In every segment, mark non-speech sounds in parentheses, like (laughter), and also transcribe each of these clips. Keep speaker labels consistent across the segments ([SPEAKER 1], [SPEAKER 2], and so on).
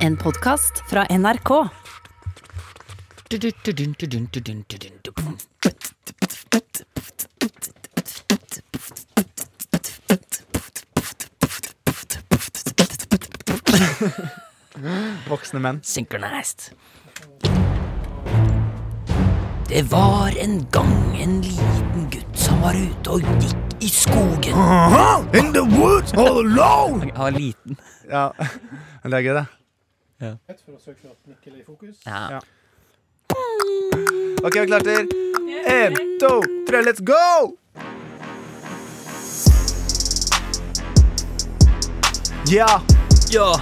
[SPEAKER 1] En podkast fra NRK.
[SPEAKER 2] Voksne menn.
[SPEAKER 3] Synchronized. Det var en gang en liten gutt som var ute og gikk i skogen.
[SPEAKER 4] In the woods all alone!
[SPEAKER 3] Han var liten.
[SPEAKER 2] Ja, men det er gøy, det.
[SPEAKER 5] Et for å søke at Mikkel er i fokus.
[SPEAKER 3] Ja.
[SPEAKER 2] OK, vi klarter. Én, to, tre, let's go! Ja!
[SPEAKER 3] ja.
[SPEAKER 2] Ja.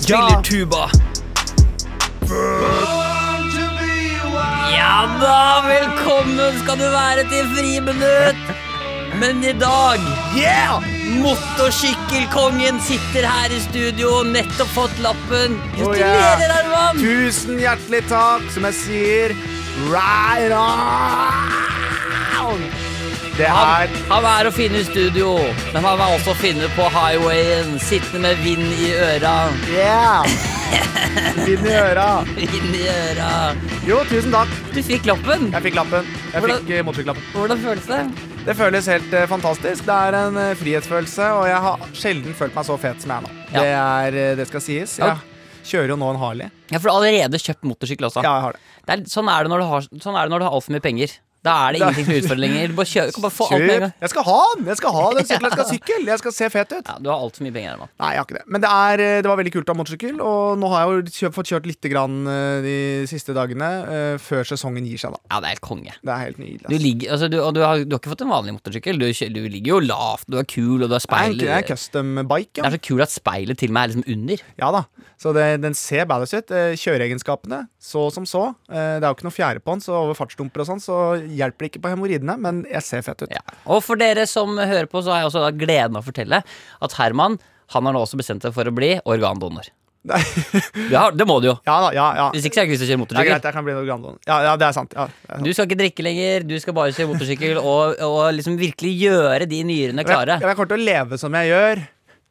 [SPEAKER 3] Spiller tuba. Ja da, velkommen skal du være til friminutt. Men i dag
[SPEAKER 2] Yeah!
[SPEAKER 3] Motorsykkelkongen sitter her i studio, nettopp fått lappen.
[SPEAKER 2] Oh, yeah.
[SPEAKER 3] Gratulerer, Arman!
[SPEAKER 2] Tusen hjertelig takk, som jeg sier. Right on! Det
[SPEAKER 3] Han,
[SPEAKER 2] er
[SPEAKER 3] han er å finne i studio, men han er også å finne på highwayen, sittende med vind i øra.
[SPEAKER 2] Yeah! Vind i øra.
[SPEAKER 3] Vind i øra.
[SPEAKER 2] Jo, tusen takk.
[SPEAKER 3] Du fikk lappen.
[SPEAKER 2] Jeg fikk lappen. Jeg
[SPEAKER 3] Hvordan-
[SPEAKER 2] fikk eh, motorsykkellappen.
[SPEAKER 3] Hvordan føles det?
[SPEAKER 2] Det føles helt eh, fantastisk. Det er en eh, frihetsfølelse, og jeg har sjelden følt meg så fet som jeg er nå.
[SPEAKER 3] Ja.
[SPEAKER 2] Det, er, eh, det skal sies.
[SPEAKER 3] Ja.
[SPEAKER 2] Jeg kjører jo nå en Harley.
[SPEAKER 3] Ja, for du har allerede kjøpt motorsykkel også.
[SPEAKER 2] Ja, jeg har det.
[SPEAKER 3] Det er, sånn er det når du har, sånn er det når du har altfor mye penger. Da er det
[SPEAKER 2] Da-
[SPEAKER 3] ingenting som er utfordring lenger. Du Bare kjør, du kan bare få alt med en
[SPEAKER 2] Kjøp!
[SPEAKER 3] gang.
[SPEAKER 2] Jeg skal ha den! Jeg skal ha den sykkelen,
[SPEAKER 3] (laughs)
[SPEAKER 2] jeg skal ha sykkel! Jeg skal se fet ut.
[SPEAKER 3] Ja, du har altfor mye penger ennå.
[SPEAKER 2] Nei, jeg har ikke det. Men det, er, eh, det var veldig kult å ha motorsykkel, og nå har jeg jo kjø- fått kjørt lite grann eh, de siste dagene eh, før sesongen gir seg, da.
[SPEAKER 3] Ja, det er helt konge.
[SPEAKER 2] Det er helt nydelig.
[SPEAKER 3] Du
[SPEAKER 2] ass.
[SPEAKER 3] ligger, altså, du, og du har, du har ikke fått en vanlig motorsykkel. Du, kjø- du ligger jo lavt, du er kul, og du har
[SPEAKER 2] Det er
[SPEAKER 3] speil.
[SPEAKER 2] en- det er en custom bike,
[SPEAKER 3] Det
[SPEAKER 2] ja.
[SPEAKER 3] er så kul at speilet til og med er liksom under.
[SPEAKER 2] ja da. Så det, den ser badass ut. Eh, Kjøreegenskapene, så som så. Eh, Det er jo ikke noe fjære på den, så over fartsdumper og sånn, så hjelper det ikke på hemoroidene, men jeg ser fett ut.
[SPEAKER 3] Ja. Og for dere som hører på, så har jeg også da gleden av å fortelle at Herman han har nå også bestemt seg for å bli organdonor.
[SPEAKER 2] Nei.
[SPEAKER 3] Ja, det må du jo.
[SPEAKER 2] Ja da, ja, ja.
[SPEAKER 3] Hvis ikke så er det ikke vits i å kjøre
[SPEAKER 2] Det er greit,
[SPEAKER 3] motorsykkel.
[SPEAKER 2] jeg kan bli en organdon. Ja, ja, det er sant. Ja, det er sant.
[SPEAKER 3] Du skal ikke drikke lenger, du skal bare kjøre motorsykkel og, og liksom virkelig gjøre de nyrene klare.
[SPEAKER 2] Jeg, jeg kommer til å leve som jeg gjør,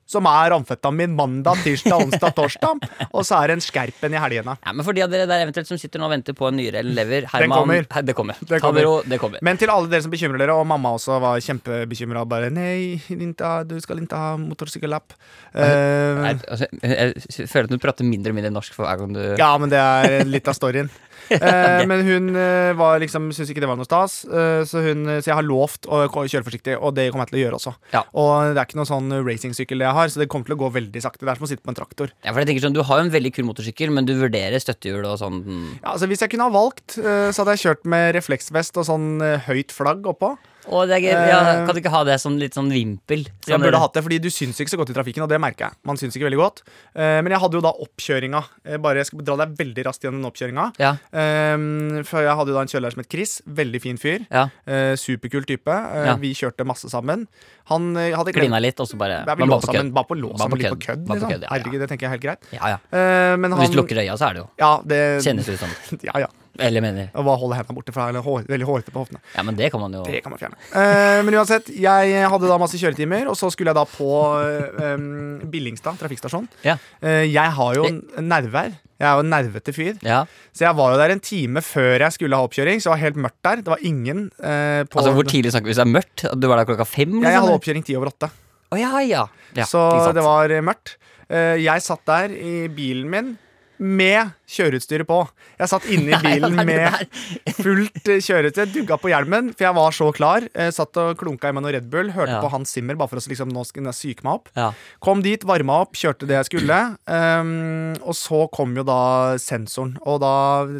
[SPEAKER 2] som er amfetamin mandag, tirsdag,
[SPEAKER 3] (laughs)
[SPEAKER 2] onsdag, torsdag, og så er det en skerpen i helgene.
[SPEAKER 3] Ja, men for de av dere der eventuelt som sitter nå og venter på en nyre eller lever Herman,
[SPEAKER 2] kommer.
[SPEAKER 3] Her, det kommer.
[SPEAKER 2] Det
[SPEAKER 3] Ta
[SPEAKER 2] kommer.
[SPEAKER 3] det ro, det kommer.
[SPEAKER 2] Men til alle dere som bekymrer dere, og mamma også var kjempebekymra. Bare 'nei, inte, ha- du skal ikke ha motorsykkellapp'. Eh,
[SPEAKER 3] Her, altså, jeg, jeg føler at du prater mindre og mindre norsk for hver gang du
[SPEAKER 2] Ja, men det er litt av (laughs) storyen. Eh, men hun eh, var liksom, syntes ikke det var noe stas, eh, så, hun, så jeg har lovt å k- kjøre forsiktig, og det kommer jeg til å gjøre også.
[SPEAKER 3] Ja.
[SPEAKER 2] Og det er ikke noen sånn racingsykkel jeg har, så det kommer til å gå veldig sakte. Det er som å sitte på en traktor.
[SPEAKER 3] Ja, for jeg tenker sånn, Du har jo en veldig kul motorsykkel, men du vurderer støttehjul og sånn.
[SPEAKER 2] Ja, altså Hvis jeg kunne ha valgt, eh, så hadde jeg kjørt med refleksvest og sånn eh, høyt flagg oppå.
[SPEAKER 3] Å, det er gøy.
[SPEAKER 2] Eh,
[SPEAKER 3] Ja, kan du ikke ha det som litt sånn vimpel?
[SPEAKER 2] Så jeg
[SPEAKER 3] Sånn-
[SPEAKER 2] burde hatt det, fordi Du syns ikke så godt i trafikken, og det merker jeg. Man syns ikke veldig godt Eh, Men jeg hadde jo da oppkjøringa. Eh, Bare Jeg skal dra deg veldig raskt gjennom den oppkjøringa.
[SPEAKER 3] Ja,
[SPEAKER 2] Eh, for jeg hadde jo da en kjørelærer som het Chris. Veldig fin fyr.
[SPEAKER 3] ja.
[SPEAKER 2] Eh, superkul type. Eh,
[SPEAKER 3] Ja.
[SPEAKER 2] Vi kjørte masse sammen. Han eh, hadde glemt
[SPEAKER 3] Klina litt, og så bare
[SPEAKER 2] Nei, vi
[SPEAKER 3] men
[SPEAKER 2] lå
[SPEAKER 3] bare på
[SPEAKER 2] sammen,
[SPEAKER 3] kødd.
[SPEAKER 2] bare på lå
[SPEAKER 3] Bare
[SPEAKER 2] sammen,
[SPEAKER 3] på
[SPEAKER 2] litt på kødd.
[SPEAKER 3] kødd. Bare på
[SPEAKER 2] liksom.
[SPEAKER 3] kødd, ja, ja.
[SPEAKER 2] Herregud, det tenker jeg er helt greit.
[SPEAKER 3] Ja, ja.
[SPEAKER 2] Eh, men
[SPEAKER 3] Og hvis
[SPEAKER 2] han Eh,
[SPEAKER 3] du lukker øya, så er det jo
[SPEAKER 2] Ja, det
[SPEAKER 3] Kjennes det ut som.
[SPEAKER 2] (laughs) Ja, ja.
[SPEAKER 3] Eller mener
[SPEAKER 2] Og bare holde hendene borte fra eller hår, veldig hårete på hoftene.
[SPEAKER 3] Ja, men det kan man jo
[SPEAKER 2] Det kan man fjerne. Eh, men uansett, jeg hadde da masse kjøretimer, og så skulle jeg da på eh, em, Billingstad trafikkstasjon.
[SPEAKER 3] Ja.
[SPEAKER 2] Eh, jeg har jo en nerver. Jeg er jo en nervete fyr.
[SPEAKER 3] ja.
[SPEAKER 2] Så jeg var jo der en time før jeg skulle ha oppkjøring, så det var helt mørkt der. Det var ingen eh, på
[SPEAKER 3] Altså, Hvor tidlig snakker vi? Hvis det er mørkt? At Du var der klokka fem?
[SPEAKER 2] Ja, jeg
[SPEAKER 3] liksom?
[SPEAKER 2] hadde oppkjøring ti over åtte.
[SPEAKER 3] Å, ja, ja. ja
[SPEAKER 2] så
[SPEAKER 3] ikke sant.
[SPEAKER 2] det var eh, mørkt. Eh, jeg satt der i bilen min med kjøreutstyret på. Jeg satt
[SPEAKER 3] (laughs)
[SPEAKER 2] inni bilen
[SPEAKER 3] Nei, det
[SPEAKER 2] med
[SPEAKER 3] (laughs)
[SPEAKER 2] fullt eh, kjøreutstyr, dugga på hjelmen, for jeg var så klar. Eh, satt og klunka i meg noe Red Bull, hørte
[SPEAKER 3] Ja.
[SPEAKER 2] på Hans Zimmer bare for å liksom, nå skal jeg syke meg opp.
[SPEAKER 3] Ja.
[SPEAKER 2] Kom dit, varma opp, kjørte det jeg skulle. ehm, og så kom jo da sensoren, og da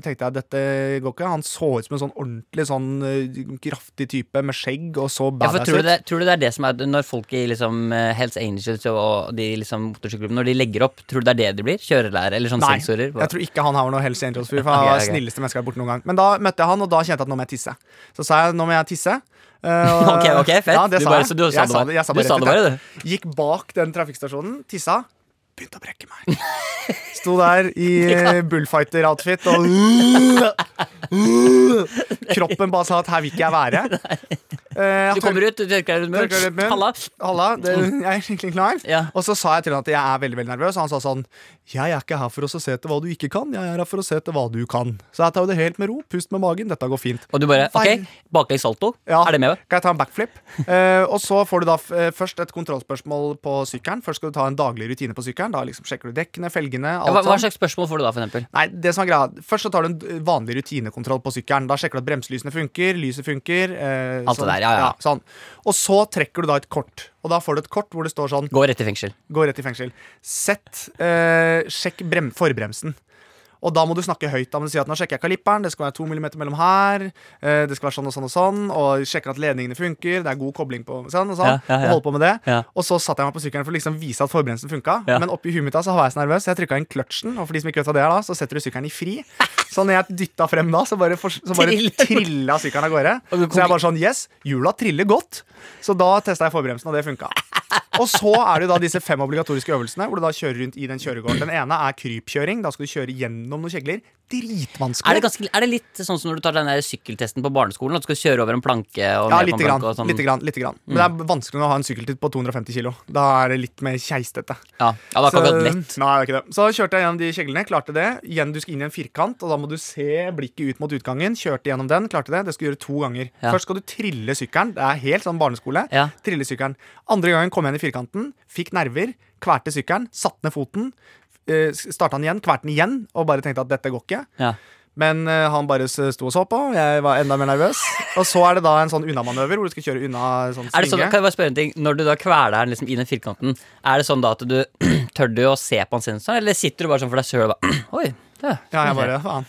[SPEAKER 2] tenkte jeg dette går ikke. Han så ut som en sånn ordentlig sånn eh, kraftig type med skjegg og så
[SPEAKER 3] Ja, for
[SPEAKER 2] badass
[SPEAKER 3] tror, du
[SPEAKER 2] ut.
[SPEAKER 3] det, tror du det er det som er Når folk i liksom eh, Hells Angels og- og de liksom motorsykkelklubbene Når de legger opp, tror du det er det de blir? Kjørelærere eller sånn
[SPEAKER 2] Nei,
[SPEAKER 3] sensorer?
[SPEAKER 2] jeg tror ikke han her var noe Hells Angels-fyr. For
[SPEAKER 3] Ok,
[SPEAKER 2] han var
[SPEAKER 3] ok.
[SPEAKER 2] snilleste menneske jeg har vært borte noen gang. Men da møtte jeg han, og da kjente jeg at nå må jeg tisse. Så sa jeg nå må jeg tisse. Eh, og-
[SPEAKER 3] (laughs) Ok, ok, fett.
[SPEAKER 2] Ja, det
[SPEAKER 3] Du
[SPEAKER 2] sa
[SPEAKER 3] bare-
[SPEAKER 2] jeg.
[SPEAKER 3] så du
[SPEAKER 2] Jeg
[SPEAKER 3] sa det bare.
[SPEAKER 2] jeg sa
[SPEAKER 3] Du sa
[SPEAKER 2] rett
[SPEAKER 3] det
[SPEAKER 2] ut,
[SPEAKER 3] bare,
[SPEAKER 2] jeg. Gikk bak den trafikkstasjonen, tissa, begynte å brekke meg.
[SPEAKER 3] (laughs)
[SPEAKER 2] Sto der i eh, bullfighter-outfit
[SPEAKER 3] (laughs)
[SPEAKER 2] og Kroppen bare sa at her vil ikke jeg være. Eh,
[SPEAKER 3] Du kommer ut, du tørker deg rundt
[SPEAKER 2] Tørker
[SPEAKER 3] munnen.
[SPEAKER 2] deg rundt munnen.
[SPEAKER 3] Halla.
[SPEAKER 2] Halla, det, (laughs) jeg er skikkelig klar.
[SPEAKER 3] Mm. Ja.
[SPEAKER 2] Og så sa jeg til han at jeg er veldig veldig nervøs, og han sa sånn Jeg er ikke her for å se etter hva du ikke kan, jeg er her for å se etter hva du kan. Så jeg tar jo det helt med ro, pust med magen, dette går fint.
[SPEAKER 3] Og du bare
[SPEAKER 2] Feil.
[SPEAKER 3] OK, baklengs salto.
[SPEAKER 2] Ja.
[SPEAKER 3] Er det med?
[SPEAKER 2] Kan jeg ta en backflip? (laughs) Eh, og så får du da eh, først et kontrollspørsmål på sykkelen. Først skal du ta en daglig rutine på sykkelen. Da liksom sjekker du dekkene, felgene,
[SPEAKER 3] Ja, Hva,
[SPEAKER 2] alt
[SPEAKER 3] hva
[SPEAKER 2] sånt.
[SPEAKER 3] slags spørsmål får du da, for eksempel?
[SPEAKER 2] Nei, det som er greia Først så tar du en eh, vanlig rutinekontroll på sykkelen. Da sjekker du at bremselysene funker, lyset funker. eh,
[SPEAKER 3] Alt det
[SPEAKER 2] sånn.
[SPEAKER 3] der, ja, ja.
[SPEAKER 2] sånn. Og så trekker du da et kort. Og da får du et kort hvor det står sånn
[SPEAKER 3] Gå rett i fengsel.
[SPEAKER 2] Gå rett i fengsel. Sett eh, Sjekk brem forbremsen. Og da må du snakke høyt. Da må du si at nå sjekker jeg kalipperen, det skal være to millimeter mellom her. eh, det skal være sånn og sånn og sånn. Og sjekke at ledningene funker. Det er god kobling på sånn og sånn.
[SPEAKER 3] Ja, ja, ja.
[SPEAKER 2] Og holde på med det.
[SPEAKER 3] Ja.
[SPEAKER 2] Og så satte jeg meg på sykkelen for å liksom vise at forbremsen funka.
[SPEAKER 3] Ja.
[SPEAKER 2] Men oppi huet mitt da så var jeg så nervøs, så jeg trykka inn kløtsjen. Og for de som ikke vet hva det er da, så setter du sykkelen i
[SPEAKER 3] (laughs)
[SPEAKER 2] fri. Så når jeg dytta frem da, så bare, for, så bare
[SPEAKER 3] Triller.
[SPEAKER 2] trilla sykkelen av gårde.
[SPEAKER 3] Og du kom
[SPEAKER 2] Så jeg bare sånn Yes, hjula triller godt. Så da testa jeg forbremsen, og det funka. Og så er det jo da disse fem obligatoriske øvelsene, hvor du da kjører rundt i den kjøregården. Den ene er krypkjøring. Da skal du kjøre gjennom noen kjegler.
[SPEAKER 3] Er det,
[SPEAKER 2] Dritvanskelig.
[SPEAKER 3] ganske, er det litt sånn som når du tar den der sykkeltesten på barneskolen? At du skal kjøre over en planke og
[SPEAKER 2] Ja,
[SPEAKER 3] ned på
[SPEAKER 2] lite
[SPEAKER 3] en
[SPEAKER 2] grann.
[SPEAKER 3] planke og sånn?
[SPEAKER 2] Lite grann, lite grann. Men det er vanskelig å ha en sykkeltid på 250 kilo. Da er det litt mer keistete.
[SPEAKER 3] Ja, ja det er ikke akkurat lett.
[SPEAKER 2] Så- Nei, det er ikke det. Så kjørte jeg gjennom de kjeglene, klarte det. Igjen, du skal inn i en firkant, og da må du se blikket ut mot utgangen. Kjørte gjennom den, klarte det. Det skal du gjøre to ganger.
[SPEAKER 3] Ja.
[SPEAKER 2] Først skal du trille sykkelen. Det er helt sånn barneskole.
[SPEAKER 3] Ja.
[SPEAKER 2] Trille sykkelen. Andre gangen kom jeg inn i firkanten, fikk nerver, kverte sykkelen, satte ned foten. eh, s- Starta den igjen, kverte den igjen, og bare tenkte at dette går ikke.
[SPEAKER 3] Ja.
[SPEAKER 2] Men eh, han bare s- sto og så på, og jeg var enda mer nervøs. Og så er det da en sånn unnamanøver hvor du skal kjøre unna sånn
[SPEAKER 3] Er det sånn,
[SPEAKER 2] svinge.
[SPEAKER 3] kan jeg bare spørre en ting Når du da kveler her liksom, i den firkanten, er det sånn da at du (clears throat) tør du å se på en sensor, eller sitter du bare sånn for deg sjøl og bare (clears throat) Oi. Ja,
[SPEAKER 2] ja, jeg bare, faen.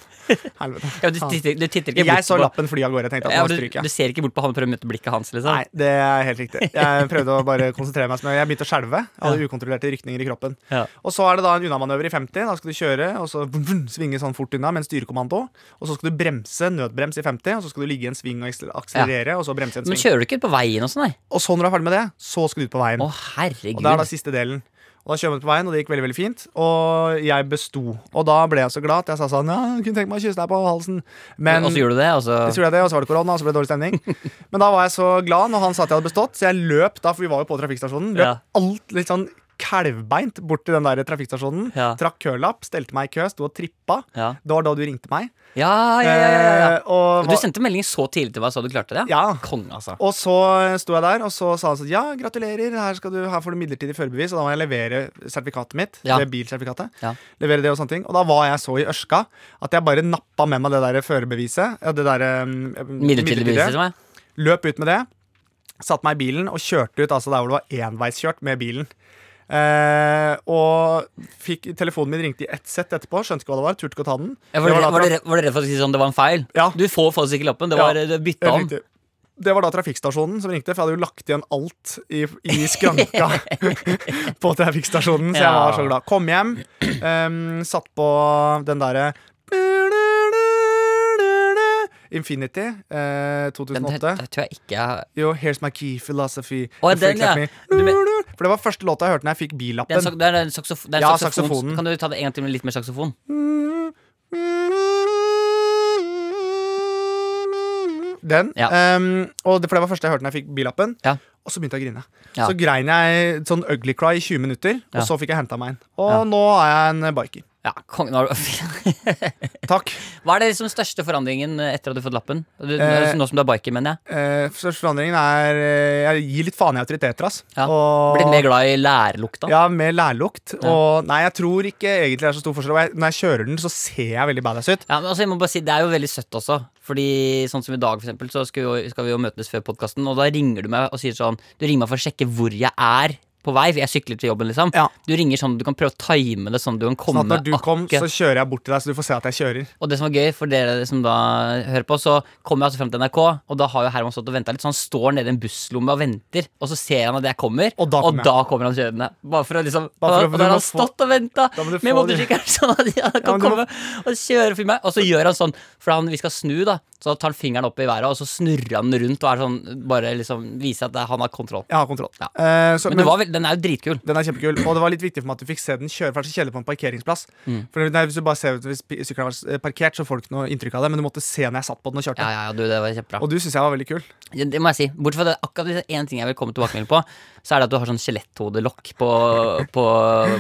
[SPEAKER 3] (laughs)
[SPEAKER 2] Helvete.
[SPEAKER 3] ja, du, titter, du titter ikke
[SPEAKER 2] Jeg
[SPEAKER 3] bort
[SPEAKER 2] så
[SPEAKER 3] på
[SPEAKER 2] lappen fly av gårde. Jeg tenkte at
[SPEAKER 3] ja,
[SPEAKER 2] nå
[SPEAKER 3] du,
[SPEAKER 2] stryker jeg.
[SPEAKER 3] du ser ikke bort på han og prøver å møte blikket hans, liksom?
[SPEAKER 2] Nei, det er helt riktig. Jeg
[SPEAKER 3] (laughs)
[SPEAKER 2] prøvde å bare konsentrere meg. som- Jeg begynte å skjelve. Jeg hadde ukontrollerte rykninger i kroppen.
[SPEAKER 3] Ja.
[SPEAKER 2] Og så er det da en unnamanøver i 50. Da skal du kjøre og så vum, vum, svinge sånn fort unna med en styrekommando. Og så skal du bremse, nødbrems i 50, og så skal du ligge i en sving og akseler- akselerere. Og så bremse i en
[SPEAKER 3] Men
[SPEAKER 2] sving.
[SPEAKER 3] kjører du ikke på veien og sånn, nei?
[SPEAKER 2] Og så når du er ferdig med det, så skal du ut på veien.
[SPEAKER 3] Å,
[SPEAKER 2] Og
[SPEAKER 3] herregud.
[SPEAKER 2] det er da siste delen. Og da kjører vi ut på veien, og det gikk veldig veldig fint. Og jeg besto. Og da ble jeg så glad at jeg sa sånn Ja, jeg kunne tenke meg å kysse deg på halsen. Men
[SPEAKER 3] og så gjør du det, og så
[SPEAKER 2] jeg tror det, er det, og så var det korona, og så ble det dårlig
[SPEAKER 3] (laughs)
[SPEAKER 2] stemning. Men da var jeg så glad når han sa at jeg hadde bestått, så jeg løp da, for vi var jo på trafikkstasjonen. Løp
[SPEAKER 3] Ja.
[SPEAKER 2] alt litt sånn kalvbeint bort til den der trafikkstasjonen.
[SPEAKER 3] Ja.
[SPEAKER 2] Trakk kølapp, stelte meg i kø, sto og trippa.
[SPEAKER 3] Ja.
[SPEAKER 2] Det var da du ringte meg.
[SPEAKER 3] Ja, ja, ja, ja, ja.
[SPEAKER 2] Eh, og,
[SPEAKER 3] Du
[SPEAKER 2] var-
[SPEAKER 3] sendte melding så tidlig til meg, så du klarte det?
[SPEAKER 2] Ja.
[SPEAKER 3] Konge, altså.
[SPEAKER 2] og så sto jeg der, og så sa han sånn Ja, gratulerer, her, skal du, her får du midlertidig førerbevis. Og da må jeg levere sertifikatet mitt.
[SPEAKER 3] Ja.
[SPEAKER 2] Det bilsertifikatet.
[SPEAKER 3] Ja.
[SPEAKER 2] Levere det Og sånne ting Og da var jeg så i ørska at jeg bare nappa med meg det der førerbeviset. ja, Det der eh,
[SPEAKER 3] Midlertidig
[SPEAKER 2] midlertidige.
[SPEAKER 3] bevis til meg.
[SPEAKER 2] Løp ut med det. Satt meg i bilen og kjørte ut altså der hvor det var enveiskjørt med bilen. Eh, og fikk, telefonen min ringte i ett sett etterpå. Skjønte ikke hva det var. Turte ikke å ta den.
[SPEAKER 3] Ja, var,
[SPEAKER 2] Det
[SPEAKER 3] du,
[SPEAKER 2] var da
[SPEAKER 3] var, du,
[SPEAKER 2] traf-
[SPEAKER 3] redd- var du redd for å si sånn det var en feil?
[SPEAKER 2] Ja.
[SPEAKER 3] Du får faktisk ikke lappen. Det var
[SPEAKER 2] Ja.
[SPEAKER 3] ja. bytta
[SPEAKER 2] Helt
[SPEAKER 3] om.
[SPEAKER 2] riktig. Det var da trafikkstasjonen som ringte, for jeg hadde jo lagt igjen alt i, i skranka (laughs) på trafikkstasjonen. Så jeg
[SPEAKER 3] Ja.
[SPEAKER 2] var så glad. Kom hjem, ehm, satt på den derre Infinity eh,
[SPEAKER 3] Den, det,
[SPEAKER 2] 2008.
[SPEAKER 3] tror jeg ikke jeg
[SPEAKER 2] Yo, here's my key philosophy.
[SPEAKER 3] Å,
[SPEAKER 2] The
[SPEAKER 3] den,
[SPEAKER 2] freak
[SPEAKER 3] ja.
[SPEAKER 2] let me-
[SPEAKER 3] Du men-
[SPEAKER 2] For det var første låta jeg hørte når jeg fikk
[SPEAKER 3] det er, en
[SPEAKER 2] billappen.
[SPEAKER 3] sak- det er en saksofon, det er en
[SPEAKER 2] Ja,
[SPEAKER 3] saksofon.
[SPEAKER 2] saksofonen.
[SPEAKER 3] Kan du ta det en gang til med litt mer saksofon?
[SPEAKER 2] Den.
[SPEAKER 3] Ja.
[SPEAKER 2] ehm, og det, for det var første jeg hørte når jeg fikk billappen.
[SPEAKER 3] Ja.
[SPEAKER 2] Og så begynte jeg å grine.
[SPEAKER 3] Ja.
[SPEAKER 2] Så grein jeg sånn ugly cry i 20 minutter,
[SPEAKER 3] Ja.
[SPEAKER 2] og så fikk jeg henta meg en. Og
[SPEAKER 3] Ja.
[SPEAKER 2] nå er jeg en biker.
[SPEAKER 3] Ja, kongen har du
[SPEAKER 2] Takk.
[SPEAKER 3] (laughs) Hva er det liksom største forandringen etter at du har fått lappen? Du,
[SPEAKER 2] Eh,
[SPEAKER 3] nå som du er biker, mener jeg.
[SPEAKER 2] Eh, Største forandringen er eh, Jeg gir litt faen i autoriteter, ass.
[SPEAKER 3] Ja.
[SPEAKER 2] Og-
[SPEAKER 3] Blitt mer glad i lærlukta?
[SPEAKER 2] Ja, med lærlukt.
[SPEAKER 3] Ja.
[SPEAKER 2] Og nei, jeg tror ikke egentlig det er så stor forskjell. Og jeg, når jeg kjører den, så ser jeg veldig badass ut.
[SPEAKER 3] Ja, men altså, jeg må bare si, Det er jo veldig søtt også. Fordi sånn som I dag for eksempel, så skal, jo, skal vi jo møtes før podkasten, og da ringer du meg og sier sånn Du ringer meg for å sjekke hvor jeg er på vei. for Jeg sykler til jobben, liksom.
[SPEAKER 2] Ja.
[SPEAKER 3] Du ringer sånn du kan prøve å time det sånn du kan
[SPEAKER 2] Sånn
[SPEAKER 3] komme
[SPEAKER 2] at når du kom,
[SPEAKER 3] akkurat-
[SPEAKER 2] så kjører jeg bort til deg, så du får se at jeg kjører.
[SPEAKER 3] Og det som var gøy for dere som da hører på, så kommer jeg altså frem til NRK, og da har jo Herman stått og venta litt, så han står nede i en busslomme og venter, og så ser han at jeg kommer,
[SPEAKER 2] Og da kommer jeg.
[SPEAKER 3] kommer han kjørende. Bare for å liksom
[SPEAKER 2] Bare for å-
[SPEAKER 3] Og
[SPEAKER 2] du
[SPEAKER 3] da har
[SPEAKER 2] må
[SPEAKER 3] han
[SPEAKER 2] få-
[SPEAKER 3] stått og venta
[SPEAKER 2] Da må du
[SPEAKER 3] med
[SPEAKER 2] få de-
[SPEAKER 3] motorsykkelen, (laughs) sånn at han kan
[SPEAKER 2] Ja, men du må-
[SPEAKER 3] komme og kjøre forbi meg. Og så gjør han sånn, for han, vi skal snu, da, så tar han fingeren opp i været, og så snurrer han rundt og er sånn, bare liksom viser at det er- han har kontroll.
[SPEAKER 2] Jeg har kontroll.
[SPEAKER 3] Ja.
[SPEAKER 2] Eh, så,
[SPEAKER 3] Men, det, var, vel- den er jo dritkul.
[SPEAKER 2] Den er kjempekul, og det var litt viktig for meg at du fikk se den kjøre fra kjeller på en parkeringsplass.
[SPEAKER 3] Mm.
[SPEAKER 2] For det- nei, Hvis du bare ser ut hvis pi- sykkelen var s- eh, parkert, så får du ikke noe inntrykk av det, men du måtte se når jeg satt på den og kjørte.
[SPEAKER 3] Ja, ja, ja, du, det var kjempebra.
[SPEAKER 2] Og du syns jeg var veldig kul.
[SPEAKER 3] Det, det må jeg si. Bortsett fra det, akkurat det en ting jeg vil komme tilbakemelding på, så er det at du har sånn skjeletthodelokk på, på,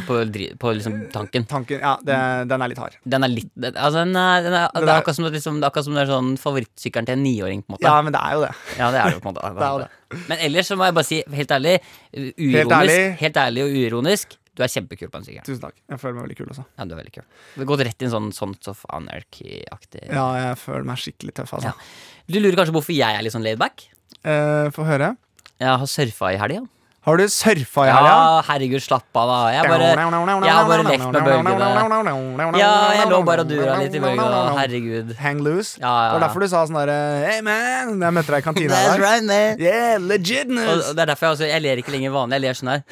[SPEAKER 3] på, dri- på liksom tanken.
[SPEAKER 2] Tanken, ja,
[SPEAKER 3] Mm.
[SPEAKER 2] det, Den er litt hard.
[SPEAKER 3] Den er litt den, altså den er, den er,
[SPEAKER 2] Den
[SPEAKER 3] det,
[SPEAKER 2] er-
[SPEAKER 3] er akkurat som, det- liksom, det er akkurat som det er sånn favorittsykkelen til en niåring, på en måte.
[SPEAKER 2] Ja, men det er jo det.
[SPEAKER 3] Ja, det er det jo på
[SPEAKER 2] (laughs)
[SPEAKER 3] en måte.
[SPEAKER 2] Det er jo
[SPEAKER 3] Men ellers så må jeg bare si, helt ærlig, uironisk,
[SPEAKER 2] Helt
[SPEAKER 3] helt ærlig,
[SPEAKER 2] ærlig.
[SPEAKER 3] og uironisk, du er kjempekul på en sykkel.
[SPEAKER 2] Tusen takk. Jeg føler meg veldig kul også.
[SPEAKER 3] Ja, du er veldig kul. Du har gått rett i en sånn Sons of Anarchy-aktig
[SPEAKER 2] Ja, jeg føler meg skikkelig tøff, altså.
[SPEAKER 3] Ja. Du lurer kanskje hvorfor jeg er litt sånn laidback?
[SPEAKER 2] Eh, Få høre.
[SPEAKER 3] Jeg har surfa i helga.
[SPEAKER 2] Har du surfa i
[SPEAKER 3] Ja,
[SPEAKER 2] helga?
[SPEAKER 3] herregud, slapp av, da. Jeg bare jeg har bare lekt med
[SPEAKER 2] bølgene.
[SPEAKER 3] Ja, jeg lå bare og dura litt i bølgen, og herregud.
[SPEAKER 2] Hang loose.
[SPEAKER 3] Ja, ja,
[SPEAKER 2] Det var
[SPEAKER 3] ja.
[SPEAKER 2] derfor du sa sånn derre Hey, man! Når jeg møtte deg i kantina der.
[SPEAKER 3] right, man.
[SPEAKER 2] Yeah,
[SPEAKER 3] Og
[SPEAKER 2] legitness!
[SPEAKER 3] det er derfor jeg, også, jeg ler ikke lenger vanlig. Jeg ler sånn her.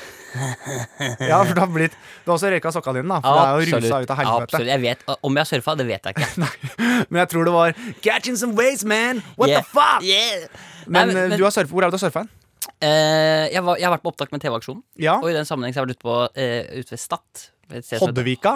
[SPEAKER 2] Ja, for du har blitt Du har også røyka sokka dine, da. For det er jo rusa ut av helvete.
[SPEAKER 3] Absolutt. Jeg vet, om jeg har surfa, det vet jeg
[SPEAKER 2] (laughs)
[SPEAKER 3] ikke.
[SPEAKER 2] Men jeg tror det var Catching some waves, man! What
[SPEAKER 3] Yeah.
[SPEAKER 2] the fuck?
[SPEAKER 3] Yeah. Nei,
[SPEAKER 2] Men, eh, du har surfa. Hvor er det du har surfa hen?
[SPEAKER 3] eh, jeg, var, jeg har vært på opptak med TV-aksjonen,
[SPEAKER 2] Ja.
[SPEAKER 3] og i den sammenheng så har jeg vært ute på eh, ute ved Stad. et sted som heter-
[SPEAKER 2] Hoddevika.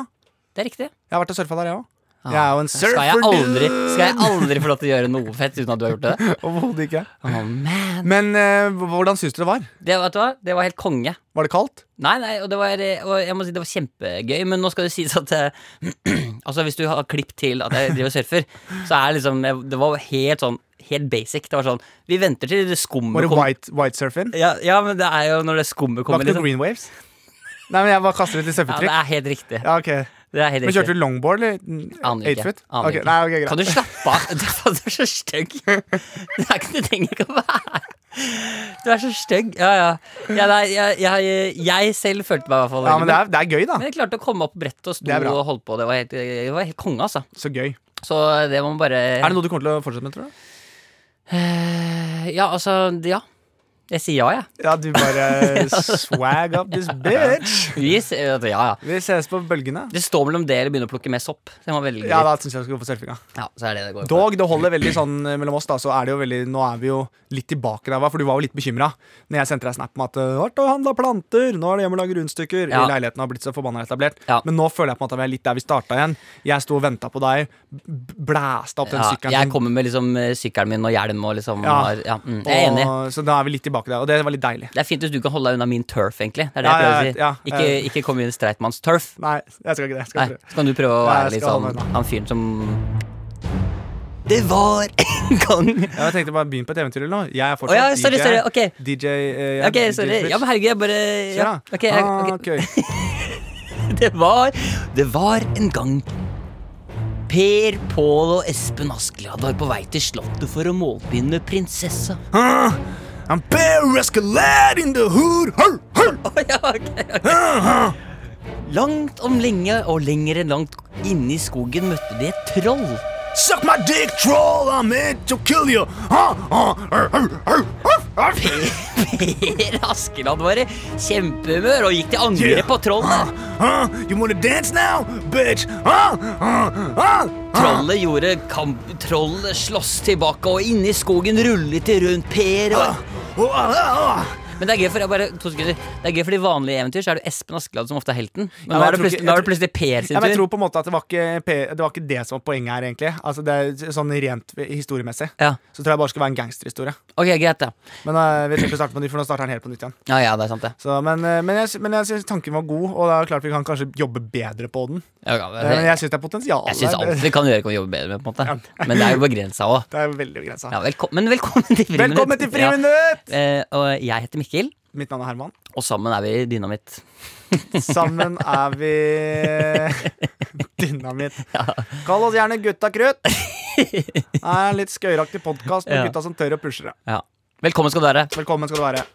[SPEAKER 3] Det er riktig.
[SPEAKER 2] Jeg har vært og surfa der, jeg òg. Jeg er jo en
[SPEAKER 3] Ah. Skal jeg,
[SPEAKER 2] surfer,
[SPEAKER 3] aldri,
[SPEAKER 2] dude!
[SPEAKER 3] skal jeg aldri få lov til å gjøre noe fett uten at du har gjort
[SPEAKER 2] (laughs)
[SPEAKER 3] det?
[SPEAKER 2] Overhodet ikke.
[SPEAKER 3] Oh, man.
[SPEAKER 2] Men eh, hvordan syns du det var?
[SPEAKER 3] Det, vet du hva? det var helt konge.
[SPEAKER 2] Var det kaldt?
[SPEAKER 3] Nei, nei, og det var, eh, og jeg må si det var kjempegøy, men nå skal det sies at eh, (clears throat) Altså, hvis du har klipp til at jeg driver og surfer, så er det liksom jeg- Det var helt sånn Helt basic. Det var sånn Vi venter til det
[SPEAKER 2] Var
[SPEAKER 3] skummet
[SPEAKER 2] det white, white surfing?
[SPEAKER 3] Ja, ja, men det er jo når det skummet
[SPEAKER 2] Var
[SPEAKER 3] kommer,
[SPEAKER 2] ikke
[SPEAKER 3] liksom.
[SPEAKER 2] noe green waves? (laughs) Nei, men jeg bare kaster ut litt
[SPEAKER 3] Ja, det
[SPEAKER 2] surfetrykk.
[SPEAKER 3] er helt riktig.
[SPEAKER 2] Ja, ok
[SPEAKER 3] Det er helt
[SPEAKER 2] Men
[SPEAKER 3] riktig.
[SPEAKER 2] kjørte du longboard, eller?
[SPEAKER 3] Aner
[SPEAKER 2] Eight
[SPEAKER 3] ikke.
[SPEAKER 2] foot?
[SPEAKER 3] Aner
[SPEAKER 2] Ok,
[SPEAKER 3] ikke.
[SPEAKER 2] Nei, ok, greit.
[SPEAKER 3] Kan du slappe av? (laughs) Du er faen, du er så stygg. (laughs) Det er ikke noe ting jeg kan være. Du er så stygg. Ja, ja. ja nei, jeg, jeg, jeg selv følte meg i hvert fall
[SPEAKER 2] Ja, men det er, det er gøy, da.
[SPEAKER 3] Men jeg klarte å komme opp på brettet og sto
[SPEAKER 2] Det er bra.
[SPEAKER 3] og holdt på. Det var helt, det var helt konge, altså.
[SPEAKER 2] Så gøy.
[SPEAKER 3] Så det må man bare
[SPEAKER 2] Er det noe du kommer til å fortsette med, tror du?
[SPEAKER 3] Ja, altså, ja. Jeg sier ja, jeg.
[SPEAKER 2] Ja, du (laughs) bare swag up this bitch.
[SPEAKER 3] Vi
[SPEAKER 2] (laughs)
[SPEAKER 3] sier- Altså, Ja, ja.
[SPEAKER 2] Vi ses på bølgene.
[SPEAKER 3] Det står mellom det eller begynne å plukke mer sopp. Så jeg må velge.
[SPEAKER 2] Ja, da syns jeg vi skal gå for surfinga.
[SPEAKER 3] Ja, så er det det går for.
[SPEAKER 2] Dog, det holder veldig sånn eh, mellom oss, da. Så er det jo veldig Nå er vi jo litt tilbake der, hva, for du var jo litt bekymra Når jeg sendte deg snap med at eh, Vært og handla planter, nå er det hjemme og lage rundstykker.
[SPEAKER 3] Ja.
[SPEAKER 2] I leiligheten har blitt så forbanna etablert.
[SPEAKER 3] Ja.
[SPEAKER 2] Men nå føler jeg på en måte at vi er litt der vi starta igjen. Jeg sto og venta på deg, b- blæsta opp den
[SPEAKER 3] Ja,
[SPEAKER 2] sykkelen.
[SPEAKER 3] jeg
[SPEAKER 2] din.
[SPEAKER 3] kommer med liksom eh, sykkelen min og hjelm og liksom
[SPEAKER 2] Ja.
[SPEAKER 3] har- ja, mm, Jeg er enig.
[SPEAKER 2] Og, så da er vi litt tilbake der, og det var litt deilig.
[SPEAKER 3] Det er fint hvis du kan holde deg unna min turf, egentlig. Det er det
[SPEAKER 2] Ja,
[SPEAKER 3] jeg prøver
[SPEAKER 2] jeg
[SPEAKER 3] å si.
[SPEAKER 2] vet, ja,
[SPEAKER 3] ikke, ikke kom i en streitmanns turf.
[SPEAKER 2] Nei, jeg skal ikke det. Jeg skal
[SPEAKER 3] Nei,
[SPEAKER 2] ikke det.
[SPEAKER 3] så kan du prøve å
[SPEAKER 2] Nei, jeg
[SPEAKER 3] være litt
[SPEAKER 2] skal
[SPEAKER 3] sånn
[SPEAKER 2] holde meg unna.
[SPEAKER 3] han fyren som Det var en gang
[SPEAKER 2] Ja, jeg tenkte bare begynn på et eventyr eller noe. Jeg er
[SPEAKER 3] Å
[SPEAKER 2] fortsatt
[SPEAKER 3] ja, sorry,
[SPEAKER 2] DJ.
[SPEAKER 3] sorry. Ok,
[SPEAKER 2] DJ eh, jeg er
[SPEAKER 3] Ok,
[SPEAKER 2] DJ
[SPEAKER 3] sorry. Ja, men herregud, jeg bare ja.
[SPEAKER 2] Kjør, da.
[SPEAKER 3] ok, jeg,
[SPEAKER 2] Ah,
[SPEAKER 3] ok.
[SPEAKER 2] ok.
[SPEAKER 3] Det var Det var en gang Per, Pål og Espen Askeladd var på vei til Slottet for å målbegynne prinsessa. (laughs)
[SPEAKER 4] I'm bare escalade in the hood. Hur, hur.
[SPEAKER 3] (laughs) Å ja, ok, ok. Langt om lenge og lenger enn langt inne i skogen møtte de et troll. (laughs)
[SPEAKER 4] Suck my dick, troll. I'm meant to kill you. Huh? Huh? Hur, hur, hur,
[SPEAKER 3] (laughs)
[SPEAKER 4] hur, hur.
[SPEAKER 3] Per Askeland var i kjempehumør og gikk til angrep
[SPEAKER 4] Yeah.
[SPEAKER 3] på trollet.
[SPEAKER 4] Huh? You wanna dance now, bitch? Huh? Huh? Huh?
[SPEAKER 3] Trollet gjorde kamp... Trollet slåss tilbake, og inni skogen rullet de rundt Per og
[SPEAKER 4] Oh, oh, oh.
[SPEAKER 3] Men det er gøy for jeg bare, to sekunder Det er gøy for i vanlige eventyr så er det Espen Askeladd som ofte er helten. Men
[SPEAKER 2] Ja,
[SPEAKER 3] nå er det
[SPEAKER 2] jeg tror ikke-
[SPEAKER 3] plutselig, nå er det plutselig Per
[SPEAKER 2] Ja,
[SPEAKER 3] sin
[SPEAKER 2] men jeg
[SPEAKER 3] tur.
[SPEAKER 2] tror på en måte at det var ikke, P- det var ikke det som var poenget her, egentlig. Altså, det er Sånn rent historiemessig.
[SPEAKER 3] Ja,
[SPEAKER 2] Så tror jeg bare det skal være en gangsterhistorie.
[SPEAKER 3] ok, greit, ja.
[SPEAKER 2] Men eh, vi trenger ikke starte på nytt, for nå starter den helt på nytt igjen.
[SPEAKER 3] Ja, ja, det er sant, det.
[SPEAKER 2] Så, men, eh, men jeg, sy- men jeg syns tanken var god, og det er jo klart vi kan kanskje jobbe bedre på den.
[SPEAKER 3] Ja, ja,
[SPEAKER 2] Eh, Men
[SPEAKER 3] jeg
[SPEAKER 2] jeg syns det er potensial.
[SPEAKER 3] jeg syns alt vi kan gjøre, kan vi jobbe bedre med, på en måte. Men det er jo begrensa òg.
[SPEAKER 2] (laughs) Det er veldig begrensa.
[SPEAKER 3] Ja, velko men velkommen til Friminutt.
[SPEAKER 2] Velkommen til
[SPEAKER 3] Ja.
[SPEAKER 2] Friminutt!
[SPEAKER 3] Eh, og jeg heter Mikkel,
[SPEAKER 2] Mitt navn er Herman.
[SPEAKER 3] og sammen er vi Dynamitt.
[SPEAKER 2] Sammen er vi
[SPEAKER 3] (laughs)
[SPEAKER 2] dynamitt. Kall oss gjerne Gutta krutt. Det er en litt skøyeraktig podkast med
[SPEAKER 3] Ja.
[SPEAKER 2] gutta som tør å pushe det.
[SPEAKER 3] Ja. Velkommen skal du være.
[SPEAKER 2] Velkommen skal du være.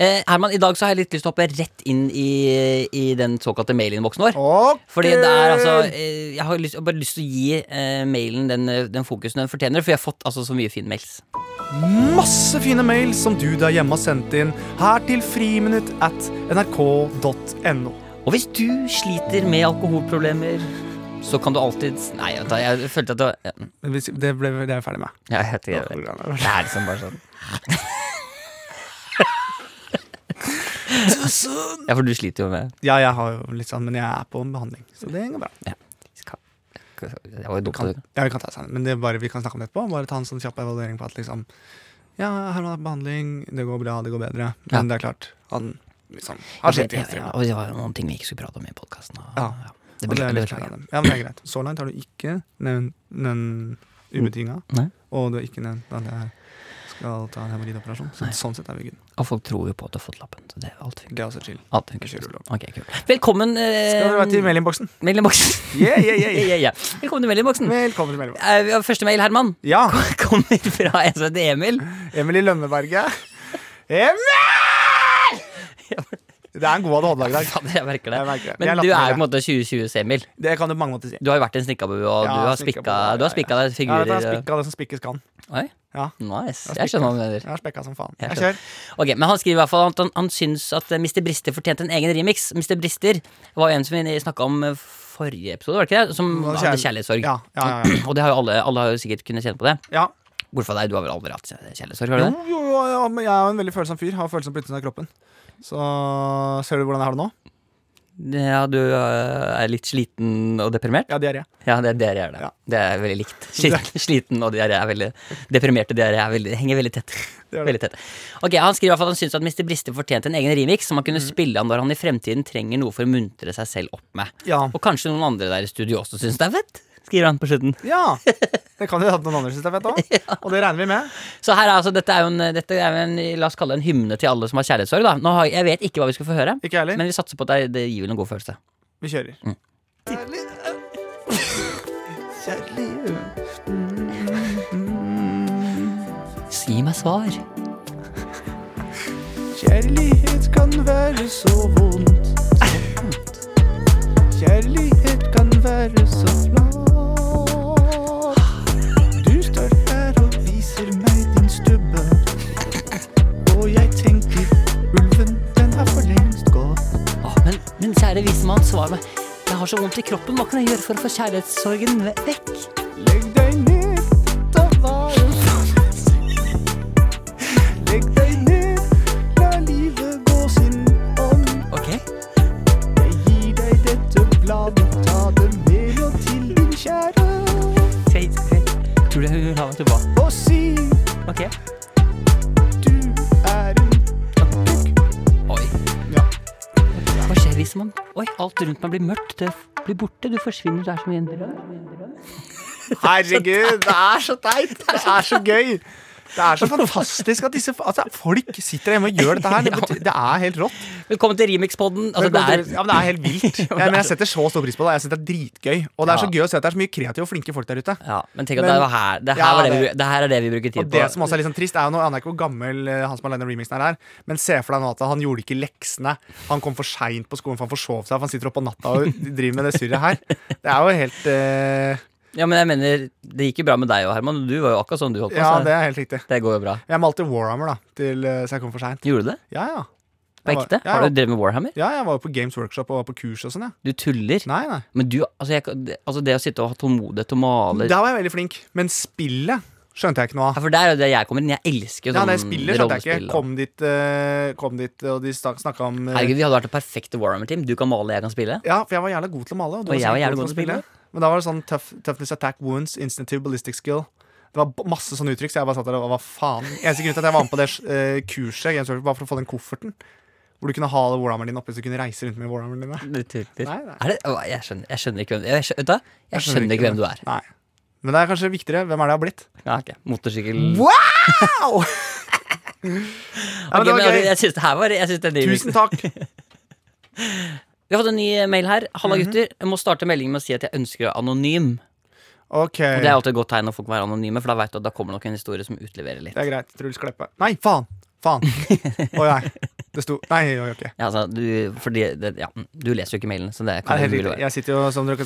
[SPEAKER 3] Eh, Herman, i dag så har jeg litt lyst til å hoppe rett inn i, i den såkalte mailinnboksen vår.
[SPEAKER 2] Ok.
[SPEAKER 3] Fordi det er altså
[SPEAKER 2] Øh.
[SPEAKER 3] eh, Jeg har lyst, jeg har bare lyst til å gi eh, mailen den, eh, den fokusen den fortjener, for jeg har fått altså så mye fine mails.
[SPEAKER 2] Masse fine mail som du der hjemme har sendt inn her til friminutt at nrk.no.
[SPEAKER 3] Og hvis du sliter med alkoholproblemer, så kan du alltid Nei, vet du, jeg følte at det var ja,
[SPEAKER 2] Men hvis- Det, ble, det er jeg ferdig med.
[SPEAKER 3] Jeg vet ikke. jeg vet. Det er liksom bare sånn (laughs)
[SPEAKER 2] sånn.
[SPEAKER 3] Ja, for du sliter jo med
[SPEAKER 2] Ja, jeg har jo litt sånn, men jeg er på behandling, så det går bra.
[SPEAKER 3] Det var jo dumt.
[SPEAKER 2] Kan, ja, vi kan ta det sammen, men det er bare, vi kan snakke om det etterpå. Bare ta en sånn kjapp evaluering på at liksom Ja, Herman er på behandling, det går bra, det går bedre. Men
[SPEAKER 3] Ja.
[SPEAKER 2] det er klart, han liksom har
[SPEAKER 3] Ja,
[SPEAKER 2] slitt i
[SPEAKER 3] ja, ja,
[SPEAKER 2] historien.
[SPEAKER 3] og det var jo noen ting vi ikke skulle prate om i podkasten. Det
[SPEAKER 2] Ja. Og det er
[SPEAKER 3] beklager
[SPEAKER 2] litt
[SPEAKER 3] jeg.
[SPEAKER 2] feil av dem. Ja, men det er greit. Så langt har du ikke nevnt den ubetinga,
[SPEAKER 3] Mm. Nei.
[SPEAKER 2] og du har ikke nevnt at jeg skal ta en hemoroideoperasjon. Så,
[SPEAKER 3] Nei.
[SPEAKER 2] sånn sett er vi good.
[SPEAKER 3] Og folk tror jo på at du har fått lappen. Så det er alt funker.
[SPEAKER 2] Det er også chill.
[SPEAKER 3] Alt funker.
[SPEAKER 2] Kjør ulovlig.
[SPEAKER 3] Ok, kult. Velkommen eh,
[SPEAKER 2] Skal dere være til mailinnboksen?
[SPEAKER 3] mailinnboksen.
[SPEAKER 2] Yeah, yeah,
[SPEAKER 3] (laughs)
[SPEAKER 2] yeah.
[SPEAKER 3] Ja,
[SPEAKER 2] (laughs)
[SPEAKER 3] ja, ja. Velkommen til mailinnboksen.
[SPEAKER 2] Velkommen til mailinnboksen.
[SPEAKER 3] Eh, vi har Første mail, Herman, (laughs)
[SPEAKER 2] Ja,
[SPEAKER 3] kommer fra en som heter Emil.
[SPEAKER 2] Emil i Lønneberget. Emil! Det er en god ADHD-dag i dag.
[SPEAKER 3] Fader, jeg merker det.
[SPEAKER 2] Jeg merker det. Jeg
[SPEAKER 3] Men
[SPEAKER 2] lapper
[SPEAKER 3] du er
[SPEAKER 2] det.
[SPEAKER 3] jo på en måte 2020s Emil.
[SPEAKER 2] Det kan du på mange måter si.
[SPEAKER 3] Du har jo vært en snikkabue, og
[SPEAKER 2] Ja,
[SPEAKER 3] du har
[SPEAKER 2] snikker
[SPEAKER 3] spikka,
[SPEAKER 2] på det,
[SPEAKER 3] du har
[SPEAKER 2] ja,
[SPEAKER 3] spikka deg
[SPEAKER 2] Ja, vet du,
[SPEAKER 3] figurer.
[SPEAKER 2] jeg har spikka det som spikkes kan.
[SPEAKER 3] Oi,
[SPEAKER 2] Ja.
[SPEAKER 3] nice.
[SPEAKER 2] Jeg har
[SPEAKER 3] Jeg skjønner hva du mener.
[SPEAKER 2] Jeg har spekka som faen.
[SPEAKER 3] Jeg
[SPEAKER 2] Jeg
[SPEAKER 3] skjønner.
[SPEAKER 2] kjører.
[SPEAKER 3] Ok, Men han skriver i hvert fall at han, han syns at eh, Mr. Brister fortjente en egen remix. Mr. Brister var jo en som vi snakka om eh, forrige episode, var det ikke det? Som
[SPEAKER 2] Var det
[SPEAKER 3] hadde
[SPEAKER 2] kjærl-
[SPEAKER 3] kjærlighetssorg.
[SPEAKER 2] Ja, ja, ja,
[SPEAKER 3] Og det har jo alle, alle har jo sikkert kunnet kjenne på det.
[SPEAKER 2] ja.
[SPEAKER 3] Bortsett fra deg, du har vel aldri hatt kjærlighetssorg?
[SPEAKER 2] Jo,
[SPEAKER 3] har du det?
[SPEAKER 2] jo, jo, ja, men jeg er jo en veldig følsom fyr. Har følsom på utsiden av kroppen. Så ser du hvordan jeg har det nå?
[SPEAKER 3] Ja, du eh, er litt sliten og deprimert?
[SPEAKER 2] Ja, diaré.
[SPEAKER 3] Ja, det er diaré er det.
[SPEAKER 2] Ja.
[SPEAKER 3] Det er veldig (laughs) likt. Sliten, sliten og diaré er veldig Deprimerte diaré er veldig, henger veldig (laughs) tett.
[SPEAKER 2] Det er det.
[SPEAKER 3] Veldig tett. Ok, Han skriver i hvert fall at han syns at Mr. Brister fortjente en egen remix som han kunne spille av når han i fremtiden trenger noe for å muntre seg selv opp med.
[SPEAKER 2] Ja.
[SPEAKER 3] Og kanskje noen andre der i studio også syns det er fett, skriver han på slutten.
[SPEAKER 2] ja. Det kan jo hende noen andre syns det er fett
[SPEAKER 3] (laughs)
[SPEAKER 2] òg. Og det regner vi med.
[SPEAKER 3] Så her er altså, dette er jo en, dette er jo en la oss kalle det en hymne til alle som har kjærlighetssorg. da. Nå har, jeg vet ikke hva vi skal få høre,
[SPEAKER 2] Ikke jeg heller.
[SPEAKER 3] men Mm. vi satser på at det, det gir vel en god følelse.
[SPEAKER 2] Vi kjører.
[SPEAKER 3] Gi meg svar.
[SPEAKER 2] Kjærlighet kan være så vondt. Kjærlighet kan være så flat. Du står her og viser meg din stubbe. Og jeg tenker ulven, den har for lengst gått.
[SPEAKER 3] Åh, men, men kjære vismann, svar meg. Jeg har så vondt i kroppen, hva kan jeg gjøre for å få kjærlighetssorgen ve- vekk?
[SPEAKER 2] Legg deg ned, da være Legg deg ned, la livet gå sin ånd.
[SPEAKER 3] Ok,
[SPEAKER 2] Jeg gir deg dette bladet, ta det med og til din kjære.
[SPEAKER 3] greit, greit. Tror du hun vil ha meg tilbake?
[SPEAKER 2] Og si
[SPEAKER 3] Ok.
[SPEAKER 2] du er en
[SPEAKER 3] Oi.
[SPEAKER 2] Ja.
[SPEAKER 3] Hva skjer vismann? Oi, alt rundt meg blir mørkt. Det blir borte, du forsvinner, du er som i en drøm.
[SPEAKER 2] Herregud, det er så teit! Det er så gøy! Det (laughs) er så fantastisk at disse altså, folk sitter hjemme og gjør dette her. Det, betyr, det er helt rått.
[SPEAKER 3] Velkommen til Remix-podden. Altså, det er
[SPEAKER 2] ja, men det er helt vilt. (laughs) Ja, men jeg setter så stor pris på det. Jeg synes det er dritgøy. Og det er så gøy å se at det er så mye kreative og flinke folk der ute.
[SPEAKER 3] Ja, men tenk at
[SPEAKER 2] Men-
[SPEAKER 3] det, var her, det, her
[SPEAKER 2] Ja,
[SPEAKER 3] var det, vi,
[SPEAKER 2] det-
[SPEAKER 3] det her er det vi bruker tid på.
[SPEAKER 2] Og det som også er litt sånn trist, er jo nå, jeg aner ikke hvor gammel eh, han som har lagd den remixen her er, men se for deg nå at han gjorde ikke leksene. Han kom for seint på skolen, for han forsov seg, for han sitter oppe på natta og (laughs) driver med det surret her. Det er jo helt eh,
[SPEAKER 3] Ja, men jeg mener, det gikk jo bra med deg òg, Herman. Du var jo akkurat sånn du holdt på.
[SPEAKER 2] Ja,
[SPEAKER 3] så
[SPEAKER 2] det er helt riktig.
[SPEAKER 3] det går jo bra.
[SPEAKER 2] Jeg malte Warhammer, da, til, eh, så jeg kom for seint.
[SPEAKER 3] Gjorde du det?
[SPEAKER 2] Ja, ja.
[SPEAKER 3] På
[SPEAKER 2] Jeg var-
[SPEAKER 3] ekte?
[SPEAKER 2] Ja,
[SPEAKER 3] Har
[SPEAKER 2] ja.
[SPEAKER 3] du drevet med Warhammer?
[SPEAKER 2] Ja, jeg var jo på Games Workshop og var på kurs og sånn, jeg.
[SPEAKER 3] Du tuller.
[SPEAKER 2] Nei, nei.
[SPEAKER 3] Men du, altså, jeg, kan- det- altså det å sitte og ha tålmodighet til å male
[SPEAKER 2] Der var jeg veldig flink, men spillet skjønte jeg ikke noe av.
[SPEAKER 3] Ja, for det er jo det jeg kommer inn. Jeg elsker jo
[SPEAKER 2] Ja,
[SPEAKER 3] sånn
[SPEAKER 2] nei, spillet skjønte jeg ikke.
[SPEAKER 3] rollespill, da.
[SPEAKER 2] Kom dit, eh, kom dit og de snak- snakka om eh,
[SPEAKER 3] Herregud, vi hadde vært det perfekte Warhammer-team. Du kan male, jeg kan spille.
[SPEAKER 2] Ja, for jeg var jævla god til å male.
[SPEAKER 3] Og
[SPEAKER 2] du
[SPEAKER 3] jeg var
[SPEAKER 2] sikkert
[SPEAKER 3] jævlig god til å spille.
[SPEAKER 2] Men da var det sånn tough, toughness attack wounds, instinctive ballistic skill. Det var b- masse sånne uttrykk, så jeg bare satt der og hva faen. Eneste grunn til at jeg var med på det eh, kurset, Games Workshop, var for å få den kofferten. Hvor du kunne ha Warhammeren din oppi, så du kunne reise rundt med Warhammeren din.
[SPEAKER 3] Du tuller.
[SPEAKER 2] Nei, nei.
[SPEAKER 3] Er det, å, jeg, skjønner, jeg skjønner ikke hvem jeg skjønner, Vet du hva? Jeg skjønner ikke hvem du er.
[SPEAKER 2] Nei. Men det er kanskje viktigere. Hvem er det jeg har blitt?
[SPEAKER 3] Ja, ok. Motorsykkel
[SPEAKER 2] (laughs) Wow! ja, men
[SPEAKER 3] Ok, men
[SPEAKER 2] det var
[SPEAKER 3] altså,
[SPEAKER 2] gøy.
[SPEAKER 3] Jeg syns det her var jeg synes det er ny-
[SPEAKER 2] Tusen takk.
[SPEAKER 3] Vi har fått en ny mail her. Halla,
[SPEAKER 2] Mhm.
[SPEAKER 3] gutter. Jeg må starte meldingen med å si at jeg ønsker å være anonym. (laughs)
[SPEAKER 2] OK.
[SPEAKER 3] Og Det er alltid et godt tegn når folk må være anonyme, for da vet du at da kommer nok en historie som utleverer litt.
[SPEAKER 2] Det er greit. Truls Kleppe. Nei, faen!
[SPEAKER 3] (laughs)
[SPEAKER 2] Faen. Å nei. Det sto Nei, jeg gjør ikke
[SPEAKER 3] Ja, altså, du, fordi det, ja, mm, du leser jo ikke mailene, så det
[SPEAKER 2] Nei,
[SPEAKER 3] kan
[SPEAKER 2] helt
[SPEAKER 3] umulig
[SPEAKER 2] riktig.
[SPEAKER 3] være.
[SPEAKER 2] Jeg sitter jo, som dere kan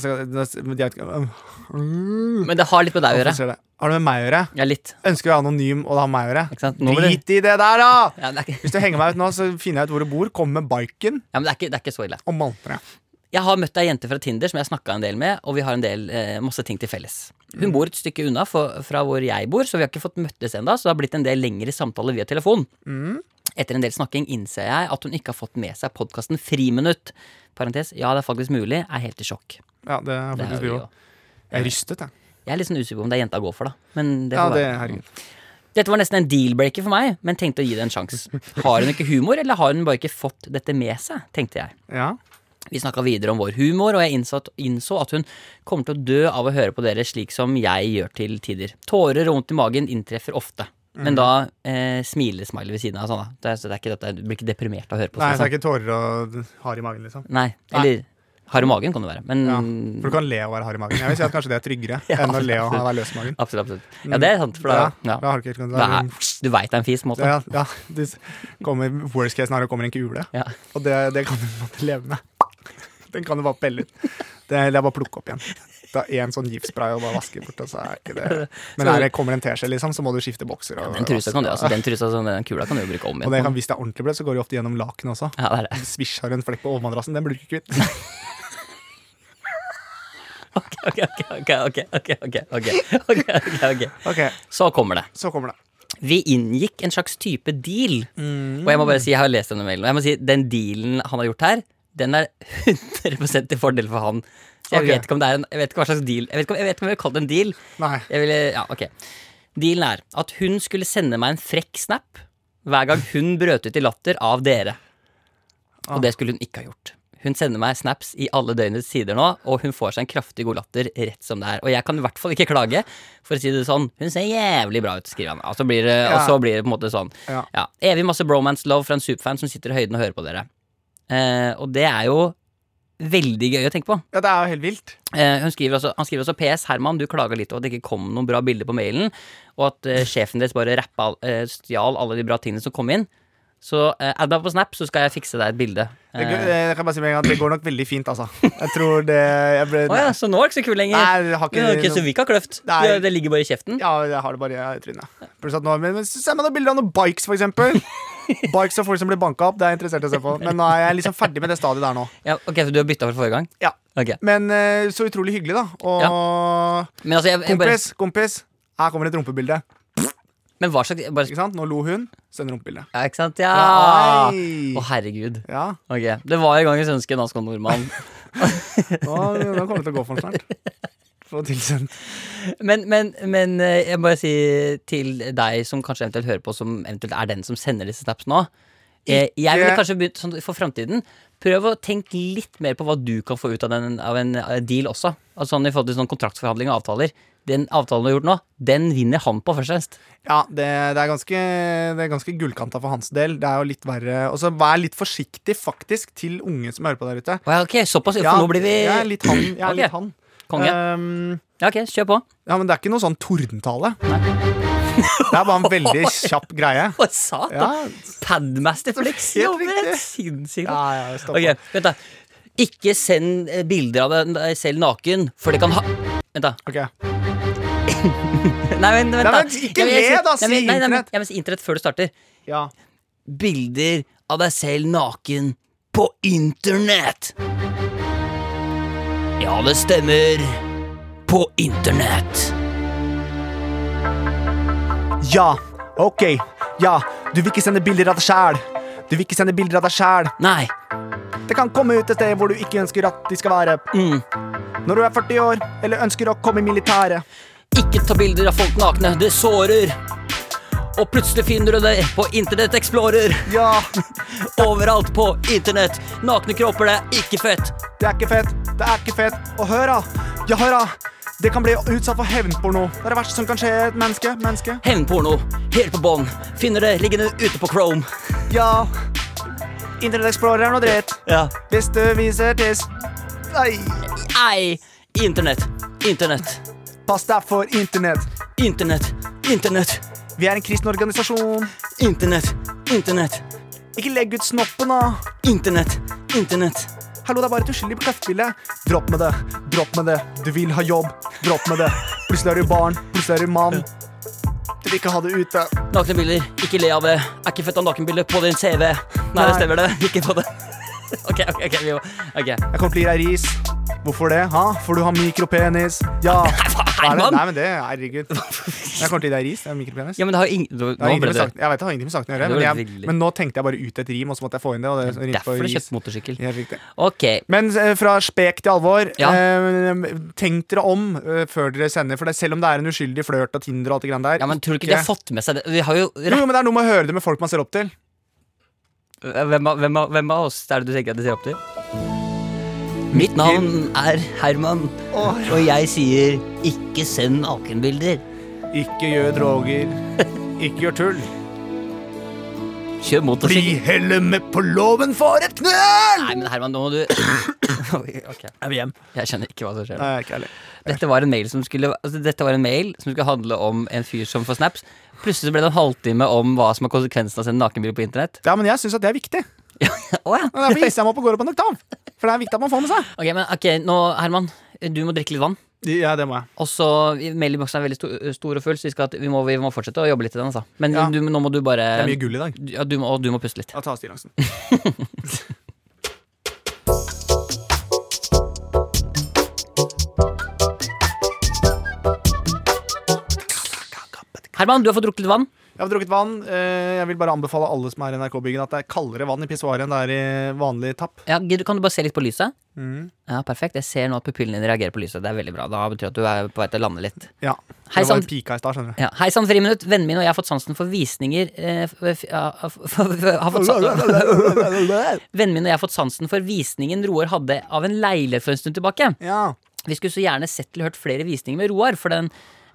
[SPEAKER 2] se med diakt- Hvorfor
[SPEAKER 3] Men det har litt med deg å gjøre.
[SPEAKER 2] ser det? Har det med meg å gjøre?
[SPEAKER 3] Ja, litt.
[SPEAKER 2] Ønsker å være anonym, og det har med meg å
[SPEAKER 3] Ikke
[SPEAKER 2] gjøre.
[SPEAKER 3] sant? Nå vil det-
[SPEAKER 2] Drit i det der, da!
[SPEAKER 3] Ja, det er ikke,
[SPEAKER 2] Hvis du henger meg ut nå, så finner jeg ut hvor du bor, kommer med biken
[SPEAKER 3] ja, men det er ikke, det er ikke så ille.
[SPEAKER 2] og malter deg.
[SPEAKER 3] Jeg har møtt ei jente fra Tinder som jeg snakka en del med, og vi har en del eh, masse ting til felles. Hun
[SPEAKER 2] Mm.
[SPEAKER 3] bor et stykke unna for, fra hvor jeg bor, så vi har ikke fått møttes ennå, så det har blitt en del lengre samtaler via telefon.
[SPEAKER 2] Mm.
[SPEAKER 3] Etter en del snakking innser jeg at hun ikke har fått med seg podkasten Friminutt. Parentes, ja, det er faktisk mulig, er helt i sjokk.
[SPEAKER 2] Ja, det er
[SPEAKER 3] Det er
[SPEAKER 2] faktisk
[SPEAKER 3] jo
[SPEAKER 2] vi
[SPEAKER 3] vi
[SPEAKER 2] òg. Jeg er rystet, jeg.
[SPEAKER 3] Jeg er litt sånn usikker på om det er jenta går for, da. Men det
[SPEAKER 2] Ja,
[SPEAKER 3] får
[SPEAKER 2] det,
[SPEAKER 3] være.
[SPEAKER 2] herregud.
[SPEAKER 3] Dette var nesten en deal-breaker for meg, men tenkte å gi det en
[SPEAKER 2] (laughs)
[SPEAKER 3] sjanse. Har hun ikke humor, eller har hun bare ikke fått dette med seg, tenkte jeg.
[SPEAKER 2] Ja.
[SPEAKER 3] Vi snakka videre om vår humor, og jeg innså at, innså at hun kommer til å dø av å høre på dere slik som jeg gjør til tider. Tårer og vondt i magen inntreffer ofte. Men da eh, smilesmiley ved siden av. Sånn, da. Det, er- så det er ikke dette, du blir ikke deprimert av å høre på
[SPEAKER 2] Nei, det
[SPEAKER 3] sånn.
[SPEAKER 2] er ikke tårer og hard i magen, liksom.
[SPEAKER 3] Nei, eller hard i magen kan det være. Men
[SPEAKER 2] Ja. For du kan le og være hard i magen. Jeg vil si at kanskje det er tryggere
[SPEAKER 3] (laughs)
[SPEAKER 2] enn å le og ha- være løs i magen.
[SPEAKER 3] absolutt, absolutt. Ja, det er sant. For da, ja.
[SPEAKER 2] Mm. ja. da har du ikke helt
[SPEAKER 3] Da
[SPEAKER 2] kontroll.
[SPEAKER 3] er- du veit det er en fis. på en måte.
[SPEAKER 2] Ja, ja, det s- kommer, worst case scenario kommer en kule,
[SPEAKER 3] Ja.
[SPEAKER 2] og det, det kan du på en måte leve med. Den kan du bare pelle ut. Det, det er bare å plukke opp igjen. Ta én sånn giftspray og bare vaske bort. Og så er ikke det. Men er det kommer en teskje, liksom, så må du skifte bokser. Og,
[SPEAKER 3] Den trusa kan du, altså, den trusa som den kula kan du jo bruke om
[SPEAKER 2] og det
[SPEAKER 3] igjen.
[SPEAKER 2] kan, hvis det er ordentlig bløtt, så går det jo ofte gjennom lakenet også.
[SPEAKER 3] Ja, det er det. (laughs)
[SPEAKER 2] Svisjer en flekk på overmadrassen, den blir du ikke kvitt.
[SPEAKER 3] Ok, ok, ok, ok, ok, ok, ok, ok, ok, ok.
[SPEAKER 2] Ok,
[SPEAKER 3] Så kommer det.
[SPEAKER 2] Så kommer det.
[SPEAKER 3] Vi inngikk en slags type deal. Og jeg må bare si, jeg har lest denne mailen, og jeg må si, den dealen han har gjort her, den er 100 til fordel for han. Så jeg
[SPEAKER 2] Ok.
[SPEAKER 3] vet ikke om det er en, jeg vet ikke hva slags deal Jeg vet ikke om jeg, vet ikke om jeg vil kalle det en deal.
[SPEAKER 2] Nei.
[SPEAKER 3] Jeg ville, ja, ok Dealen er at hun skulle sende meg en frekk snap hver gang hun brøt ut i latter av dere. Og det skulle hun ikke ha gjort. Hun sender meg snaps i alle døgnets sider nå, og hun får seg en kraftig god latter rett som det er. Og jeg kan i hvert fall ikke klage, for å si det sånn. Hun ser jævlig bra ut, skriver han. Og så blir det, og
[SPEAKER 2] Ja.
[SPEAKER 3] så blir det på en måte sånn.
[SPEAKER 2] Ja.
[SPEAKER 3] Ja. Evig masse bromance-love fra en superfan som sitter i høyden og hører på dere. Eh, og det er jo veldig gøy å tenke på.
[SPEAKER 2] Ja, det er jo helt vilt.
[SPEAKER 3] Eh, hun skriver også, han skriver også PS Herman, du klager litt over at det ikke kom noen bra bilder på mailen, og at eh, sjefen deres bare rappa, all- eh, stjal alle de bra tingene som kom inn. Så eh, add meg på Snap, så skal jeg fikse deg et bilde.
[SPEAKER 2] Det,
[SPEAKER 3] Eh,
[SPEAKER 2] går- jeg kan bare si med en gang at det går nok veldig fint, altså. Jeg tror det jeg ble,
[SPEAKER 3] Å ja, så nå er det ikke så kul lenger.
[SPEAKER 2] Nei, jeg har ikke
[SPEAKER 3] Ja, ok, så vi ikke har kløft.
[SPEAKER 2] Nei.
[SPEAKER 3] Det, det ligger bare i kjeften.
[SPEAKER 2] Ja, jeg har det bare i trynet. Pluss at nå, men, men Se meg noen bilder av noen bikes, for eksempel. Bikes og folk som blir banka opp. Det er jeg interessert i å se på. Men nå er jeg liksom ferdig med det stadiet der nå.
[SPEAKER 3] Ja, ok, så du har bytta fra forrige gang?
[SPEAKER 2] Ja.
[SPEAKER 3] Ok.
[SPEAKER 2] Men eh, så utrolig hyggelig, da. Og
[SPEAKER 3] Men, altså, jeg, jeg bare,
[SPEAKER 2] kompis, kompis. Her kommer et rumpebilde.
[SPEAKER 3] men hva slags bare,
[SPEAKER 2] Ikke sant? Nå lo hun. Send rumpebilde.
[SPEAKER 3] ja, Ikke sant? Ja! Å,
[SPEAKER 2] Oi.
[SPEAKER 3] herregud.
[SPEAKER 2] Ja,
[SPEAKER 3] Ok, Det var en gang jeg ønske en dansk nordmann.
[SPEAKER 2] nå, nå kommer det til å gå for den snart. Få tilsendt.
[SPEAKER 3] Men, men, men eh, jeg må bare si til deg som kanskje eventuelt hører på, som eventuelt er den som sender disse snaps nå eh, Jeg ville kanskje begynt sånn for framtiden. Prøv å tenke litt mer på hva du kan få ut av, den, av en eh, deal også. Altså sånn I forhold til sånn kontraktsforhandling og avtaler. Den avtalen du har gjort nå, den vinner han på, først og fremst.
[SPEAKER 2] Ja, det, det er ganske, det er ganske gullkanta for hans del. Det er jo litt verre. Og så vær litt forsiktig, faktisk, til unge som hører på der ute.
[SPEAKER 3] Å ja, ok, såpass. For nå blir vi
[SPEAKER 2] Jeg er litt han. Jeg er
[SPEAKER 3] Ok.
[SPEAKER 2] litt han.
[SPEAKER 3] konge.
[SPEAKER 2] Ehm,
[SPEAKER 3] Ja, ok, kjør på.
[SPEAKER 2] ja, men det er ikke noe sånn tordentale. Det er bare en veldig kjapp greie.
[SPEAKER 3] Å, satan!
[SPEAKER 2] Ja,
[SPEAKER 3] Padmaster Flex
[SPEAKER 2] (laughs) Helt
[SPEAKER 3] jobber
[SPEAKER 2] riktig.
[SPEAKER 3] helt sinnssykt.
[SPEAKER 2] ja, ja stopp.
[SPEAKER 3] Ok, vent da Ikke send eh, bilder av deg selv naken For det kan ha Vent da
[SPEAKER 2] Ok.
[SPEAKER 3] Nei, vent, vent
[SPEAKER 2] Nei,
[SPEAKER 3] da
[SPEAKER 2] men ikke
[SPEAKER 3] Jeg vil- jeg
[SPEAKER 2] le
[SPEAKER 3] vil-
[SPEAKER 2] da,
[SPEAKER 3] jeg vil- nei, nei,
[SPEAKER 2] si
[SPEAKER 3] men-
[SPEAKER 2] internett.
[SPEAKER 3] Jeg vil si internett før du starter
[SPEAKER 2] Ja.
[SPEAKER 3] Bilder av deg selv naken På internett Ja, det stemmer På internett
[SPEAKER 2] ja, ok. Ja, du vil ikke sende bilder av deg sjæl. Du vil ikke sende bilder av deg sjæl.
[SPEAKER 3] Nei,
[SPEAKER 2] Det kan komme ut et sted hvor du ikke ønsker at de skal være.
[SPEAKER 3] mm.
[SPEAKER 2] Når du er 40 år, eller ønsker å komme i militæret.
[SPEAKER 3] ikke ta bilder av folk nakne Det sårer Og plutselig finner du det på Internet Explorer
[SPEAKER 2] Ja,
[SPEAKER 3] Overalt på internett Nakne kropper, det er ikke fett
[SPEAKER 2] det er ikke fett. Det er ikke fett. Og hør, da. Ja, hør, da. Det kan bli utsatt for hevnporno. Det er det verste som kan skje et menneske. Menneske.
[SPEAKER 3] Hevnporno, helt på bånn. Finner det liggende ute på Chrome.
[SPEAKER 2] Ja. Internett Explorer er noe dritt.
[SPEAKER 3] Ja.
[SPEAKER 2] Hvis du viser tiss Nei.
[SPEAKER 3] Ei! Internett, internett,
[SPEAKER 2] Pass deg for internett.
[SPEAKER 3] internett, internett,
[SPEAKER 2] Vi er en kristen organisasjon.
[SPEAKER 3] internett, internett,
[SPEAKER 2] Ikke legg ut snoppen, da.
[SPEAKER 3] internett, internett.
[SPEAKER 2] Hallo, det er bare et uskyldig kløftbilde. Dropp med det. Dropp med det. Du vil ha jobb. Dropp med det. Plutselig er du barn. Plutselig er du mann. Du vil ikke ha det ute.
[SPEAKER 3] Nakne bilder, ikke le av det. Er ikke fett av nakenbilder på din CV. Nei,
[SPEAKER 2] Nei.
[SPEAKER 3] det (laughs) stemmer det. Ikke på det. Ok, ok, ok, vi må Ok,
[SPEAKER 2] Jeg kommer til å gi deg ris. Hvorfor det? Ha? For du har mikropenis. Ja. (laughs) Hva er det?
[SPEAKER 3] mann!
[SPEAKER 2] Nei, men det herregud. Jeg kommer til å gi deg ris. Jeg har mikropenis.
[SPEAKER 3] Ja, men det har jo ingen du,
[SPEAKER 2] Det har
[SPEAKER 3] Nå
[SPEAKER 2] ingenting
[SPEAKER 3] ble
[SPEAKER 2] med
[SPEAKER 3] det
[SPEAKER 2] saken, jeg vet det har ingenting med saken
[SPEAKER 3] Det
[SPEAKER 2] å gjøre,
[SPEAKER 3] var
[SPEAKER 2] men, jeg,
[SPEAKER 3] veldig-
[SPEAKER 2] men nå tenkte jeg bare ut et rim, og så måtte jeg få inn det. Og det rimte på
[SPEAKER 3] Derfor du
[SPEAKER 2] ris.
[SPEAKER 3] kjøpte motorsykkel
[SPEAKER 2] Helt riktig.
[SPEAKER 3] Ok
[SPEAKER 2] Men eh, fra spek til alvor.
[SPEAKER 3] Ja.
[SPEAKER 2] Eh, tenk dere om eh, før dere sender, for det, selv om det er en uskyldig flørt og Tinder og alt det greiene der
[SPEAKER 3] Ja, men tror du ikke de har fått med seg det? Vi har jo
[SPEAKER 2] jo, jo, men det er noe med å høre det med folk man ser opp til.
[SPEAKER 3] Hvem av, hvem, av, hvem av oss er det du tenker at de ser opp til? Mitt navn er Herman, og jeg sier ikke send nakenbilder.
[SPEAKER 2] Ikke gjør droger.
[SPEAKER 3] (laughs)
[SPEAKER 2] Ikke gjør tull.
[SPEAKER 3] Kjør motorsykkel.
[SPEAKER 4] Vi heller med på låven for et knell!
[SPEAKER 3] Nei, men Herman, nå må
[SPEAKER 2] (coughs)
[SPEAKER 3] du Ok,
[SPEAKER 2] Jeg vil hjem.
[SPEAKER 3] Jeg skjønner ikke hva som skjer.
[SPEAKER 2] Nei, ikke heller.
[SPEAKER 3] Dette var en mail som skulle altså, Dette var en mail som skulle handle om en fyr som får snaps. Plutselig så ble det en halvtime om hva som er konsekvensen av å sende nakenbilder på
[SPEAKER 2] (laughs)
[SPEAKER 3] internett.
[SPEAKER 2] Ja, men jeg syns at det er viktig.
[SPEAKER 3] Å, ja.
[SPEAKER 2] Og
[SPEAKER 3] (laughs)
[SPEAKER 2] Derfor hisser jeg meg opp og går opp en oktav. For det er viktig at man får med seg.
[SPEAKER 3] Ok, men ok, nå, Herman, du må drikke litt vann.
[SPEAKER 2] Ja, det må jeg.
[SPEAKER 3] Og så Mailinnboksen er veldig stor, stor og full, så vi, skal, at- vi, må, vi må fortsette å jobbe litt i den. Altså. Men
[SPEAKER 2] Ja.
[SPEAKER 3] du, nå må du bare
[SPEAKER 2] Det er mye gull i dag.
[SPEAKER 3] ja, du må, Og du må puste litt.
[SPEAKER 2] Jeg tar stillongsen.
[SPEAKER 3] Herman, du har fått drukket litt vann.
[SPEAKER 2] Jeg har drukket vann. Eh, Jeg vil bare anbefale alle som er i NRK-byggen, at det er kaldere vann i pissoaret enn det er i vanlig tapp.
[SPEAKER 3] Ja, gidder- kan du bare se litt på lyset?
[SPEAKER 2] Mm.
[SPEAKER 3] Ja, Perfekt. Jeg ser nå at pupillene dine reagerer på lyset. Det er veldig bra. Da betyr det at du er på vei til å lande litt.
[SPEAKER 2] Ja.
[SPEAKER 3] Hei sånn-
[SPEAKER 2] det var
[SPEAKER 3] sann.
[SPEAKER 2] pika i
[SPEAKER 3] (laughs)
[SPEAKER 2] stad, skjønner du.
[SPEAKER 3] Ja. Hei sann, Friminutt. Vennen min og jeg har fått sansen for visninger eh, f- f- ja, f- f- har fått sa- Vennen min og jeg har fått sansen for visningen Roar hadde av en leilighet for en stund tilbake.
[SPEAKER 2] Ja.
[SPEAKER 3] Vi skulle så gjerne sett eller hørt flere visninger med Roar, for den,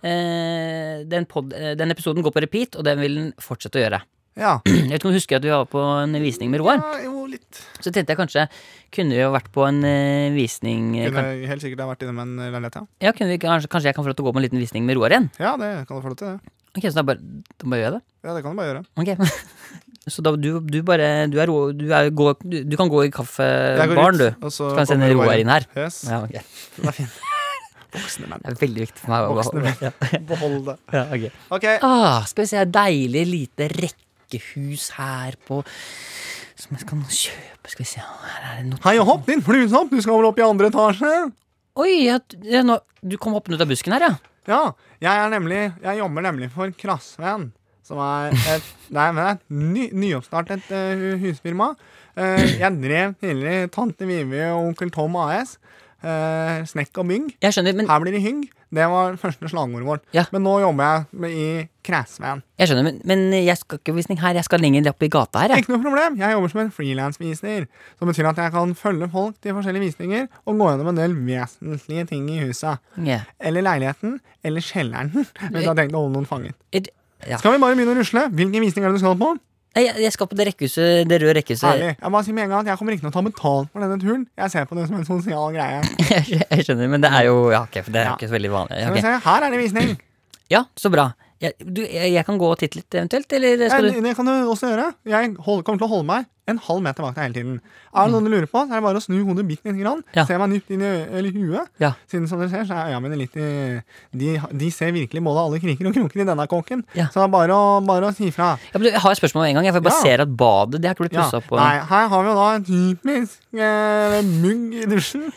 [SPEAKER 3] eh, den, pod, eh, den episoden går på repeat, og den vil den fortsette å gjøre. (clears throat)
[SPEAKER 2] ja.
[SPEAKER 3] Jeg vet ikke om du husker at vi var på en visning med Roar?
[SPEAKER 2] ja jo, litt.
[SPEAKER 3] Så tenkte jeg kanskje kunne vi jo vært på en eh, visning eh,
[SPEAKER 2] Kunne
[SPEAKER 3] kan,
[SPEAKER 2] helt sikkert ha vært innom en leilighet, ja.
[SPEAKER 3] Ja, kunne vi, kanskje, kanskje jeg kan få lov til å gå på en liten visning med Roar igjen?
[SPEAKER 2] Ja, det kan du få lov til, det.
[SPEAKER 3] Ok, Så da bare, da bare gjør jeg det.
[SPEAKER 2] Ja, det kan du bare gjøre.
[SPEAKER 3] Ok (laughs) Så da du, du bare Du, er, ro- du, er, gå, du, du kan gå i
[SPEAKER 2] Jeg går
[SPEAKER 3] kaffebaren,
[SPEAKER 2] ut,
[SPEAKER 3] Eh, du.
[SPEAKER 2] og
[SPEAKER 3] Så
[SPEAKER 2] så
[SPEAKER 3] kan jeg sende
[SPEAKER 2] kommer
[SPEAKER 3] Roar inn her.
[SPEAKER 2] Yes.
[SPEAKER 3] Ja, ok Det
[SPEAKER 2] Den er fin.
[SPEAKER 3] (laughs)
[SPEAKER 2] Voksne menn.
[SPEAKER 3] er veldig viktig for meg. å-
[SPEAKER 2] Voksne menn.
[SPEAKER 3] Ja.
[SPEAKER 2] Behold det.
[SPEAKER 3] (laughs) Ja, ok.
[SPEAKER 2] Ok,
[SPEAKER 3] Ah, skal vi se, deilig lite rekkehus her på Som jeg kan kjøpe Skal vi se, her er det noe
[SPEAKER 2] Hei og hopp, din fluesopp, du skal vel opp i andre etasje?
[SPEAKER 3] Oi, ja, d- ja, nå, du kom hoppende ut av busken her, ja.
[SPEAKER 2] Ja, jeg er nemlig Jeg jobber nemlig for Krassvenn. Som er et (laughs) Nei, men det er et ny, nyoppstartet eh, hu- husfirma. Eh, jeg drev tidligere Tante Vivi og Onkel Tom AS. eh, snekk og bygg.
[SPEAKER 3] Jeg skjønner, men,
[SPEAKER 2] Her blir det hygg. Det var første slagordet vårt.
[SPEAKER 3] Ja.
[SPEAKER 2] Men nå jobber jeg med, i Kræsven.
[SPEAKER 3] jeg, skjønner men, men jeg skal ikke på visning her, jeg skal lenger opp i gata her. Jeg.
[SPEAKER 2] Ikke noe problem. Jeg jobber som en frilansviser. Som betyr at jeg kan følge folk til forskjellige visninger og gå gjennom en del vesentlige ting i huset.
[SPEAKER 3] Ja.
[SPEAKER 2] Eller leiligheten. Eller kjelleren. (laughs) Hvis jeg har tenkt å holde noen fanget.
[SPEAKER 3] Et- Ja.
[SPEAKER 2] Skal vi bare begynne å rusle? Hvilken visning er det du skal på?
[SPEAKER 3] Nei, Jeg, jeg skal på det rekkehuset, det røde rekkehuset.
[SPEAKER 2] Ærlig. Jeg bare sier med en gang at jeg kommer ikke til å ta betalt for denne turen. Jeg ser på det som en sosial greie.
[SPEAKER 3] (laughs) Jeg, skjønner, men det er jo Ja, ok, for det er
[SPEAKER 2] Ja.
[SPEAKER 3] jo ikke så veldig vanlig.
[SPEAKER 2] Skal
[SPEAKER 3] Ok.
[SPEAKER 2] vi se. Her er det
[SPEAKER 3] (clears throat)
[SPEAKER 2] visning.
[SPEAKER 3] Ja, så bra. Jeg, du, jeg, jeg kan gå og titte litt eventuelt, eller skal
[SPEAKER 2] Jeg,
[SPEAKER 3] du
[SPEAKER 2] Eh, det kan du også gjøre. Jeg hold, kommer til å holde meg en halv meter bak deg hele tiden. Er det noe du lurer på, så er det bare å snu hodet bitte lite grann.
[SPEAKER 3] Ja.
[SPEAKER 2] Se meg dypt inn i ø- eller huet.
[SPEAKER 3] Ja.
[SPEAKER 2] Siden som dere ser, så er øya mine litt i de, de ser virkelig både alle kriker og kroker i denne kåken.
[SPEAKER 3] Ja.
[SPEAKER 2] Så det er bare å, bare å si ifra.
[SPEAKER 3] ja, men du, Jeg har et spørsmål med en gang, jeg, for jeg bare
[SPEAKER 2] Ja.
[SPEAKER 3] ser at badet Det har ikke blitt
[SPEAKER 2] Ja.
[SPEAKER 3] pussa opp. og-
[SPEAKER 2] Nei, her har vi jo da en typisk eh, mugg i dusjen.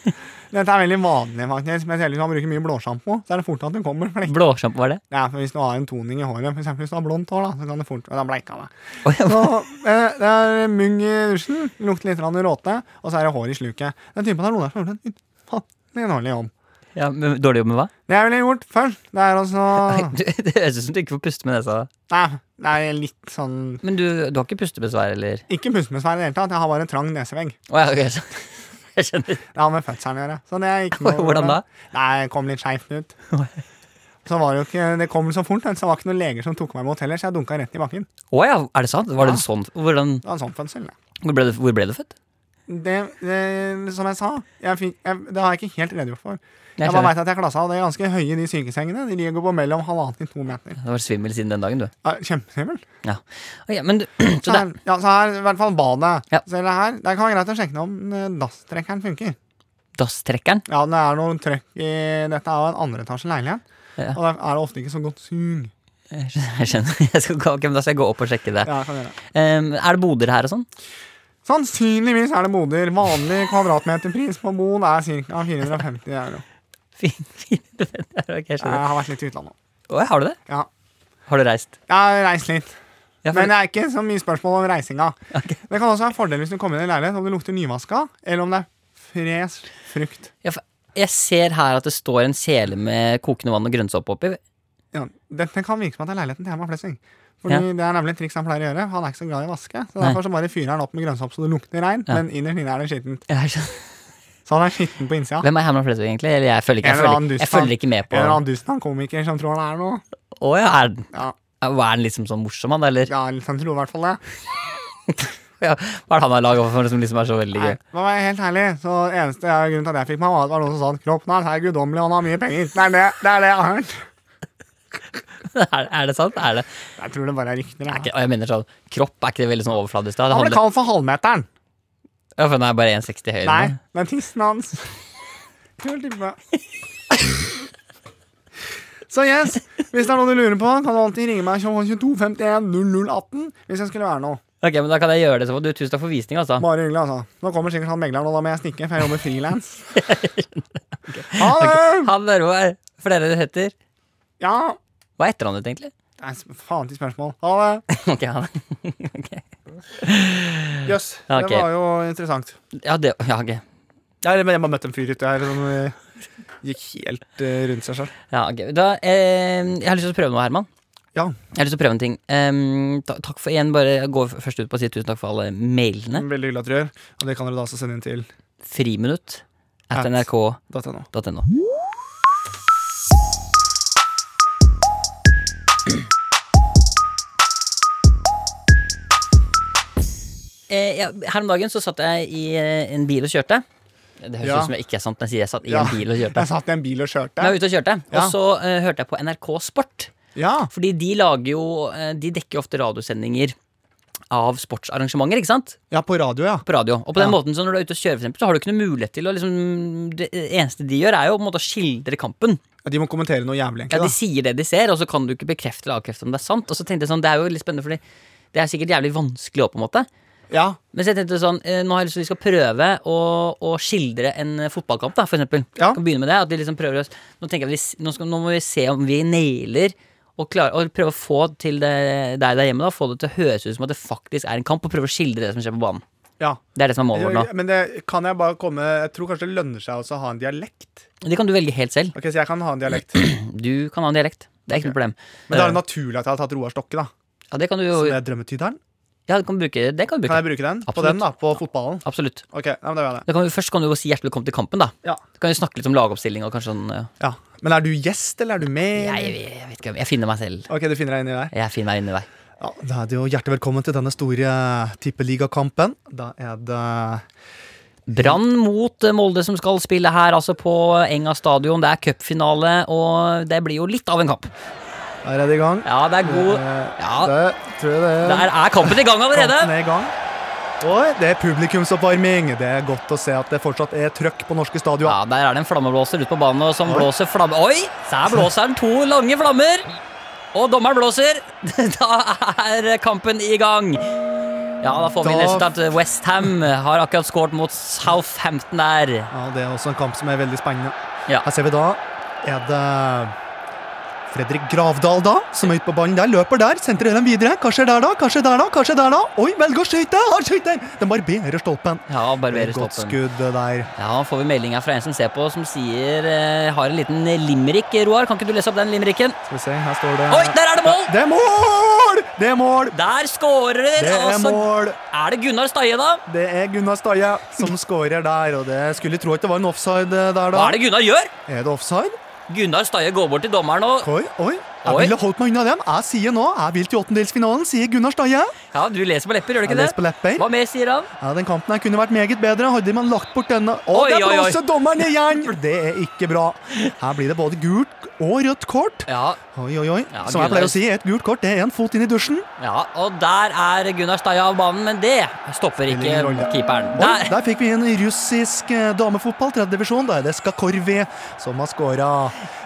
[SPEAKER 2] Dette er veldig vanlig, faktisk. Spesielt hvis man bruker mye blåsjampo. Så er det fort at det kommer flekker.
[SPEAKER 3] Blåsjampo, var det?
[SPEAKER 2] Ja, for hvis du har en toning i håret, for eksempel hvis du har blondt hår, da, så kan det fort Da bleika det.
[SPEAKER 3] Å, ja.
[SPEAKER 2] Så eh, det er mugg i dusjen, lukter litt grann råte, og så er det hår i sluket. Den typen av Ronar som har gjort en utfattelig dårlig jobb.
[SPEAKER 3] Ja, men, dårlig jobb med hva?
[SPEAKER 2] Det jeg ville gjort først, det er altså
[SPEAKER 3] (laughs) Du, det høres ut som du ikke får puste med nesa.
[SPEAKER 2] Nei, det er litt sånn
[SPEAKER 3] Men du, du har ikke pustebesvær, eller?
[SPEAKER 2] Ikke pustebesvær i det hele tatt, jeg har bare en trang nesevegg.
[SPEAKER 3] Å ja, ok, så- (laughs) jeg skjønner.
[SPEAKER 2] Det har med fødselen å gjøre. Så det er ikke noe
[SPEAKER 3] (laughs) Hvordan da?
[SPEAKER 2] Nei, jeg kom litt skeivt
[SPEAKER 3] (laughs)
[SPEAKER 2] ut. Så var det jo ikke Det kom så fort, så det var ikke noen leger som tok meg imot heller, så jeg dunka rett i bakken.
[SPEAKER 3] Å ja, er det sant? Var det sånn? Hvordan,
[SPEAKER 2] Det var en sånn fødsel, det.
[SPEAKER 3] hvor, ble du, hvor ble du født?
[SPEAKER 2] det, det som jeg sa, jeg fikk, jeg, det har jeg ikke helt redegjort for. Jeg, bare
[SPEAKER 3] skjønner.
[SPEAKER 2] vet at jeg klassa, og det er ganske høye de sykesengene. De ligger på mellom halvannen til to meter.
[SPEAKER 3] Du har vært svimmel siden den dagen, du.
[SPEAKER 2] Ja, Kjempesvimmel.
[SPEAKER 3] Ja. Å, ja, men du, (clears throat) så
[SPEAKER 2] Så,
[SPEAKER 3] det,
[SPEAKER 2] her- ja, så her, i hvert fall badet.
[SPEAKER 3] Ja.
[SPEAKER 2] Så det her, det kan være greit å sjekke om eh, dasstrekkeren funker.
[SPEAKER 3] dasstrekkeren
[SPEAKER 2] Ja, det er noe trøkk i Dette er jo en andreetasje leilighet,
[SPEAKER 3] Ja.
[SPEAKER 2] og da er det ofte ikke så godt sug.
[SPEAKER 3] (laughs) Jeg skjønner. Jeg skal, gå- ok, men da skal jeg gå opp og sjekke det.
[SPEAKER 2] Ja, jeg kan gjøre det.
[SPEAKER 3] Ehm, er det boder her og sånn? (laughs)
[SPEAKER 2] Sannsynligvis er det moder. Vanlig kvadratmeterpris på Mon er ca. 450 euro.
[SPEAKER 3] Fin, fin, (laughs) ok, jeg skjønner.
[SPEAKER 2] Jeg har vært litt i utlandet.
[SPEAKER 3] Å, har du det?
[SPEAKER 2] Ja.
[SPEAKER 3] Har du reist?
[SPEAKER 2] Jeg har reist litt.
[SPEAKER 3] Ja, for-
[SPEAKER 2] Men det er ikke så mye spørsmål om reisinga. Det kan også være en fordel hvis du kommer inn i en leilighet om det lukter nyvaska, eller om det er fresh frukt.
[SPEAKER 3] ja, for jeg ser her at det står en kjele med kokende vann og grønnsåpe oppi.
[SPEAKER 2] Ja, dette kan virke som at det er leiligheten til Herman Flesvig. Fordi Det er nemlig et triks han pleier å gjøre. Han er ikke så glad i å vaske. Så
[SPEAKER 3] Nei.
[SPEAKER 2] Derfor så bare fyrer han opp med grønnsopp så det lukter rein,
[SPEAKER 3] Ja.
[SPEAKER 2] men innerst inne er det skittent.
[SPEAKER 3] Jeg skjønner.
[SPEAKER 2] (laughs) Så han er skitten på innsida.
[SPEAKER 3] Hvem er Herman Flesvig, egentlig? Eller jeg følger ikke,
[SPEAKER 2] En
[SPEAKER 3] jeg
[SPEAKER 2] eller
[SPEAKER 3] følger,
[SPEAKER 2] annen dust,
[SPEAKER 3] jeg følger ikke med
[SPEAKER 2] En
[SPEAKER 3] på
[SPEAKER 2] eller
[SPEAKER 3] Å
[SPEAKER 2] annen dust av en komiker som tror han er noe.
[SPEAKER 3] ja, er den
[SPEAKER 2] Ja,
[SPEAKER 3] Var han liksom sånn morsom, han, eller?
[SPEAKER 2] ja liksom tror i hvert fall det.
[SPEAKER 3] Ja. Hva er det han har laga for som liksom er så veldig
[SPEAKER 2] Nei,
[SPEAKER 3] gøy?
[SPEAKER 2] det var helt herlig. Så eneste grunnen til at jeg fikk meg, var at det var noen som sa at kroppen hans er guddommelig, og han har mye penger. Det er det, det er det jeg har hørt.
[SPEAKER 3] (laughs) Er, er det sant? Er det?
[SPEAKER 2] Jeg tror det bare er rykter.
[SPEAKER 3] Er
[SPEAKER 2] jeg.
[SPEAKER 3] ikke, og jeg mener sånn, Kropp er ikke det veldig sånn overfladisk? da? Det
[SPEAKER 2] Han ble
[SPEAKER 3] handler,
[SPEAKER 2] kalt for halvmeteren.
[SPEAKER 3] ja, for den er bare 1,60 høy. eller
[SPEAKER 2] Nei,
[SPEAKER 3] noe.
[SPEAKER 2] men tissen hans. Kul
[SPEAKER 3] (laughs)
[SPEAKER 2] type. Så yes, hvis det er noe du lurer på, kan du alltid ringe meg 2251 0018 hvis jeg skulle være noe.
[SPEAKER 3] Ok, men Da kan jeg gjøre det. Så får du Tusen takk for visning, altså.
[SPEAKER 2] Bare hyggelig, altså. Nå kommer sikkert han megleren, og da må jeg stikke, for jeg jobber frilans.
[SPEAKER 3] (laughs)
[SPEAKER 2] Ha det!
[SPEAKER 3] Han Roar, for dere heter
[SPEAKER 2] Ja.
[SPEAKER 3] Hva er etternavnet ditt, egentlig?
[SPEAKER 2] Det er sp- faen til spørsmål. Ha det.
[SPEAKER 3] (laughs) Ok, han ok.
[SPEAKER 2] Mm. Jøss.
[SPEAKER 3] Ja, ok.
[SPEAKER 2] Det var jo interessant.
[SPEAKER 3] Ja, det ja, ok.
[SPEAKER 2] Ja, men jeg bare møtte en fyr ute her som (laughs) eh, gikk helt eh, rundt seg sjøl.
[SPEAKER 3] Ja, ok. Da, eh, jeg har lyst til å prøve noe, Herman.
[SPEAKER 2] Ja.
[SPEAKER 3] Jeg har lyst til å prøve en ting. Em, ta, takk for igjen, bare jeg går f- først ut på å si tusen takk for alle mailene.
[SPEAKER 2] Veldig hyggelig at dere gjør. Og det kan dere da også sende inn til
[SPEAKER 3] Friminutt
[SPEAKER 2] At.
[SPEAKER 3] at nrk.no.
[SPEAKER 2] .no.
[SPEAKER 3] Eh, ja, her om dagen så satt jeg i eh, en bil og kjørte. Det høres
[SPEAKER 2] Ja.
[SPEAKER 3] ut som jeg ikke er sant når jeg sier jeg satt i
[SPEAKER 2] Ja.
[SPEAKER 3] en bil og kjørte.
[SPEAKER 2] (laughs) Jeg satt i en bil og
[SPEAKER 3] Men jeg
[SPEAKER 2] kjørte.
[SPEAKER 3] var ute og kjørte,
[SPEAKER 2] Ja.
[SPEAKER 3] og så eh, hørte jeg på NRK Sport.
[SPEAKER 2] Ja.
[SPEAKER 3] Fordi de lager jo eh, De dekker jo ofte radiosendinger av sportsarrangementer, ikke sant?
[SPEAKER 2] Ja, på radio, ja.
[SPEAKER 3] På radio. Og på den
[SPEAKER 2] Ja.
[SPEAKER 3] måten, så når du er ute og kjører, for eksempel, så har du ikke noe mulighet til å liksom Det eneste de gjør, er jo på en måte å skildre kampen.
[SPEAKER 2] Ja, De må kommentere noe jævlig,
[SPEAKER 3] Ja, De
[SPEAKER 2] egentlig. da.
[SPEAKER 3] sier det de ser, og så kan du ikke bekrefte eller avkrefte om det er sant. Og så tenkte jeg sånn, det er jo litt spennende, fordi det er sikkert jævlig vanskelig òg, på en måte.
[SPEAKER 2] Ja,
[SPEAKER 3] Men så jeg tenkte sånn, eh, nå har jeg lyst til at vi skal prøve å, å skildre en eh, fotballkamp, da, for eksempel.
[SPEAKER 2] Ja.
[SPEAKER 3] Vi Kan begynne med det, at vi liksom prøver å, nå, tenker jeg at vi, s- nå, skal, nå må vi se om vi nailer og, klarer, og prøve å få til det, deg der hjemme, da, få det til å høres ut som at det faktisk er en kamp, og prøve å skildre det som skjer på banen.
[SPEAKER 2] ja.
[SPEAKER 3] Det er det som er målet vårt nå.
[SPEAKER 2] Men det kan jeg bare komme Jeg tror kanskje det lønner seg også å ha en dialekt.
[SPEAKER 3] Det kan du velge helt selv.
[SPEAKER 2] Ok, Så jeg kan ha en dialekt.
[SPEAKER 3] (clears throat) Du kan ha en dialekt. Det er ikke noe problem.
[SPEAKER 2] Men da er det
[SPEAKER 3] Eh,
[SPEAKER 2] naturlig at jeg har tatt Roar Stokke, da.
[SPEAKER 3] ja, det kan du jo
[SPEAKER 2] Som
[SPEAKER 3] ja,
[SPEAKER 2] er drømmetyderen.
[SPEAKER 3] det kan du bruke. Det kan du
[SPEAKER 2] Kan
[SPEAKER 3] bruke.
[SPEAKER 2] jeg bruke den? På
[SPEAKER 3] Absolutt.
[SPEAKER 2] den, da. På fotballen.
[SPEAKER 3] Absolutt.
[SPEAKER 2] Ok, ja, men da gjør jeg det.
[SPEAKER 3] Da kan vi, først kan du jo si hjertelig velkommen til kampen, da.
[SPEAKER 2] Ja.
[SPEAKER 3] Så kan vi snakke litt om lagoppstilling og kanskje sånn ja.
[SPEAKER 2] Ja. Men er du gjest, eller er du med?
[SPEAKER 3] jeg,
[SPEAKER 2] eller?
[SPEAKER 3] jeg vet ikke. Jeg finner meg selv.
[SPEAKER 2] Ok, du finner deg inni der.
[SPEAKER 3] Jeg finner meg inni deg.
[SPEAKER 2] Ja, Da er det jo hjertelig velkommen til denne store tippeligakampen. Da er det
[SPEAKER 3] Brann mot eh, Molde som skal spille her, altså på Enga stadion. Det er cupfinale, og det blir jo litt av en kamp.
[SPEAKER 2] Der er det i gang.
[SPEAKER 3] Ja, det er god Ja,
[SPEAKER 2] Det tror jeg det er.
[SPEAKER 3] der er kampen i gang allerede!
[SPEAKER 2] Kampen er i gang. Oi, det er publikumsoppvarming. Det er godt å se at det fortsatt er trøkk på norske
[SPEAKER 3] Ja,
[SPEAKER 2] stadion.
[SPEAKER 3] Der er det en flammeblåser ute på banen og som
[SPEAKER 2] Oi.
[SPEAKER 3] blåser flamme... Oi! Der blåser han to lange flammer! Og dommeren blåser! (laughs) Da er kampen i gang! Ja, da får vi
[SPEAKER 2] Da-
[SPEAKER 3] resultat. Westham har akkurat skåret mot Southampton der.
[SPEAKER 2] Ja, Det er også en kamp som er veldig spennende.
[SPEAKER 3] Ja.
[SPEAKER 2] Her ser vi da er det Fredrik Gravdal, da, som er ute på banen der. Løper der, sentrerer den videre. Hva skjer der, da? Hva skjer der, da? Hva skjer der, da? Oi, velger å skyte! Han skyter! Den barberer stolpen.
[SPEAKER 3] Ja, barberer
[SPEAKER 2] Godt
[SPEAKER 3] stoppen.
[SPEAKER 2] skudd det der.
[SPEAKER 3] Ja, får vi melding her fra en som ser på, som sier eh, Har en liten limerick, Roar. Kan ikke du lese opp den limericken?
[SPEAKER 2] Skal vi se, her står det
[SPEAKER 3] Oi, der er det mål!
[SPEAKER 2] Det er mål! Det er mål!
[SPEAKER 3] Der skårer
[SPEAKER 2] Det er
[SPEAKER 3] altså
[SPEAKER 2] mål!
[SPEAKER 3] Er det Gunnar Steie, da?
[SPEAKER 2] Det er Gunnar Staje som skårer der, og det skulle tro at det var en offside der, da.
[SPEAKER 3] Hva er det Gunnar gjør?
[SPEAKER 2] Er det offside?
[SPEAKER 3] Gunnar Steie går bort til dommeren og
[SPEAKER 2] Oi, oi. Jeg
[SPEAKER 3] Oi.
[SPEAKER 2] ville holdt meg unna dem. Jeg sier nå, jeg vil til åttendelsfinalen, sier Gunnar Staje.
[SPEAKER 3] Ja, du leser på lepper, gjør du
[SPEAKER 2] Jeg
[SPEAKER 3] ikke
[SPEAKER 2] leser på
[SPEAKER 3] det?
[SPEAKER 2] lepper.
[SPEAKER 3] Hva mer sier han?
[SPEAKER 2] Ja, den kampen her kunne vært meget bedre hadde man lagt bort denne. Å,
[SPEAKER 3] Oi,
[SPEAKER 2] der
[SPEAKER 3] oi, oi.
[SPEAKER 2] blåser dommeren igjen! Det er ikke bra. Her blir det både gult og rødt kort.
[SPEAKER 3] Ja,
[SPEAKER 2] Oi, oi, oi.
[SPEAKER 3] Ja,
[SPEAKER 2] Som
[SPEAKER 3] Gunnar-
[SPEAKER 2] jeg pleier å si, et gult kort det er en fot inn i dusjen.
[SPEAKER 3] ja, og der er Gunnar Steie av banen, men det stopper ikke
[SPEAKER 2] ingen rolle.
[SPEAKER 3] keeperen.
[SPEAKER 2] Oi,
[SPEAKER 3] Der.
[SPEAKER 2] der fikk vi en russisk eh, damefotball, tredje divisjon. Da er det Skakorvi som har skåra.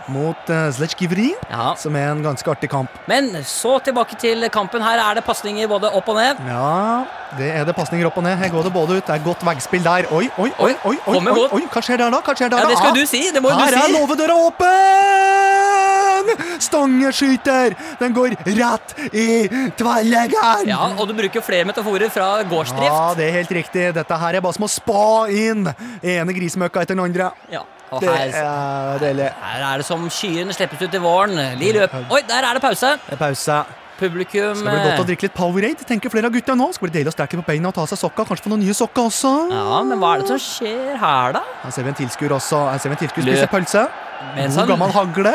[SPEAKER 2] mot uh, Zlechkivri,
[SPEAKER 3] Ja.
[SPEAKER 2] som er en ganske artig kamp.
[SPEAKER 3] Men så tilbake til kampen. Her er det pasninger både opp og ned.
[SPEAKER 2] Ja, det er det pasninger opp og ned. Her går det både ut. Det er godt veggspill der. Oi, oi, oi, oi, oi,
[SPEAKER 3] Kommer
[SPEAKER 2] oi,
[SPEAKER 3] godt.
[SPEAKER 2] oi. Hva skjer der, da? Hva skjer der,
[SPEAKER 3] Ja,
[SPEAKER 2] da?
[SPEAKER 3] det skal
[SPEAKER 2] Ah,
[SPEAKER 3] du si. Det må jo
[SPEAKER 2] Her
[SPEAKER 3] du
[SPEAKER 2] er
[SPEAKER 3] si.
[SPEAKER 2] låvedøra åpen! Stangeskyter! Den går rett i tverrleggeren!
[SPEAKER 3] Ja, og du bruker flere metaforer fra
[SPEAKER 2] Ja,
[SPEAKER 3] gårdsdrift.
[SPEAKER 2] det er helt riktig. Dette her er bare som å spa inn ene grisemøkka etter den andre.
[SPEAKER 3] Ja. Og
[SPEAKER 2] Det
[SPEAKER 3] her,
[SPEAKER 2] er deilig.
[SPEAKER 3] her er det som skyene slippes ut i våren. De løp. Oi, der er det pause.
[SPEAKER 2] Det er pause.
[SPEAKER 3] Publikum
[SPEAKER 2] Det blir godt å
[SPEAKER 3] eh,
[SPEAKER 2] drikke litt Powerade, tenker flere av gutta nå. Skal bli deilig å strekke på beina og ta av seg sokka. Kanskje få noen nye sokker også.
[SPEAKER 3] Ja, men hva er det som skjer her, da?
[SPEAKER 2] Her ser vi en tilskuer også. Her ser vi en tilskuer
[SPEAKER 3] Løp.
[SPEAKER 2] spise pølse.
[SPEAKER 3] Men
[SPEAKER 2] God
[SPEAKER 3] sånn-
[SPEAKER 2] gammel hagle.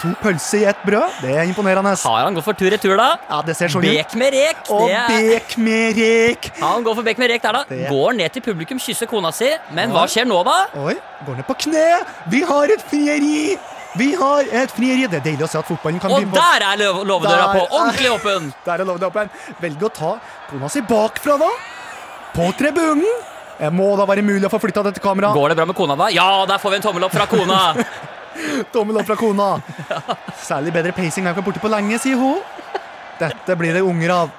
[SPEAKER 2] To pølser i ett brød. Det er imponerende.
[SPEAKER 3] Har han gått for tur-retur, da?
[SPEAKER 2] Ja, det ser sånn ut.
[SPEAKER 3] Bek med rek.
[SPEAKER 2] Og
[SPEAKER 3] Det er,
[SPEAKER 2] bek med rek.
[SPEAKER 3] ja, han går for bek med rek der, da.
[SPEAKER 2] Det-
[SPEAKER 3] Går ned til publikum, kysser kona si. Men hva skjer nå, da?
[SPEAKER 2] Oi, går ned på kne. Vi har et frieri. Vi har et frieri. Det er deilig å se at fotballen kan
[SPEAKER 3] Og
[SPEAKER 2] begynne på-
[SPEAKER 3] der er løv- låvedøra
[SPEAKER 2] Der
[SPEAKER 3] på!
[SPEAKER 2] er-
[SPEAKER 3] Ordentlig åpen!
[SPEAKER 2] Der er loven åpen. Velger å ta kona si bakfra, da. På tribunen. Det må da være mulig å få flytta dette kameraet.
[SPEAKER 3] Går det bra med kona, da? Ja, der får vi en tommel opp fra kona! (laughs)
[SPEAKER 2] Tommel opp fra kona. Særlig bedre pacing er ikke borte på lenge, sier hun. Dette blir det unger av.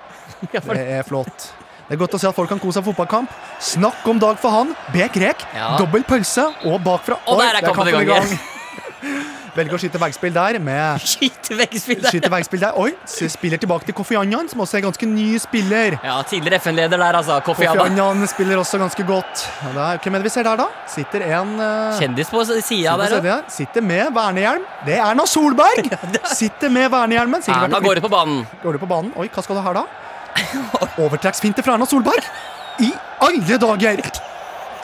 [SPEAKER 2] Det er flott. Det er godt å se at folk kan kose seg i fotballkamp. Snakk om dag for han. Bek rek.
[SPEAKER 3] Ja.
[SPEAKER 2] Dobbel pølse og bakfra.
[SPEAKER 3] Og
[SPEAKER 2] Oi,
[SPEAKER 3] der er
[SPEAKER 2] det
[SPEAKER 3] kampen i gang.
[SPEAKER 2] (laughs) Velger å skyte veggspill der
[SPEAKER 3] (laughs)
[SPEAKER 2] med
[SPEAKER 3] Skyt vekk spillet!
[SPEAKER 2] Skyter veggspill der. Oi, spiller tilbake til Kofianjan, som også er ganske ny spiller.
[SPEAKER 3] Ja, tidligere FN-leder der, altså. Kofi Annan.
[SPEAKER 2] Kofianjan spiller også ganske godt. Ja, der, hvem er det vi ser der, da? Sitter en eh,
[SPEAKER 3] Kjendis på sida
[SPEAKER 2] sitter på
[SPEAKER 3] der.
[SPEAKER 2] siden her. Sitter med vernehjelm. Det er
[SPEAKER 3] (laughs)
[SPEAKER 2] Erna Solberg! Sitter med vernehjelmen. Sikkert
[SPEAKER 3] Erna
[SPEAKER 2] vært-
[SPEAKER 3] går ut på banen.
[SPEAKER 2] går du på banen. Oi, hva skal du her, da? Overtrekksfinte fra Erna Solberg! I alle dager!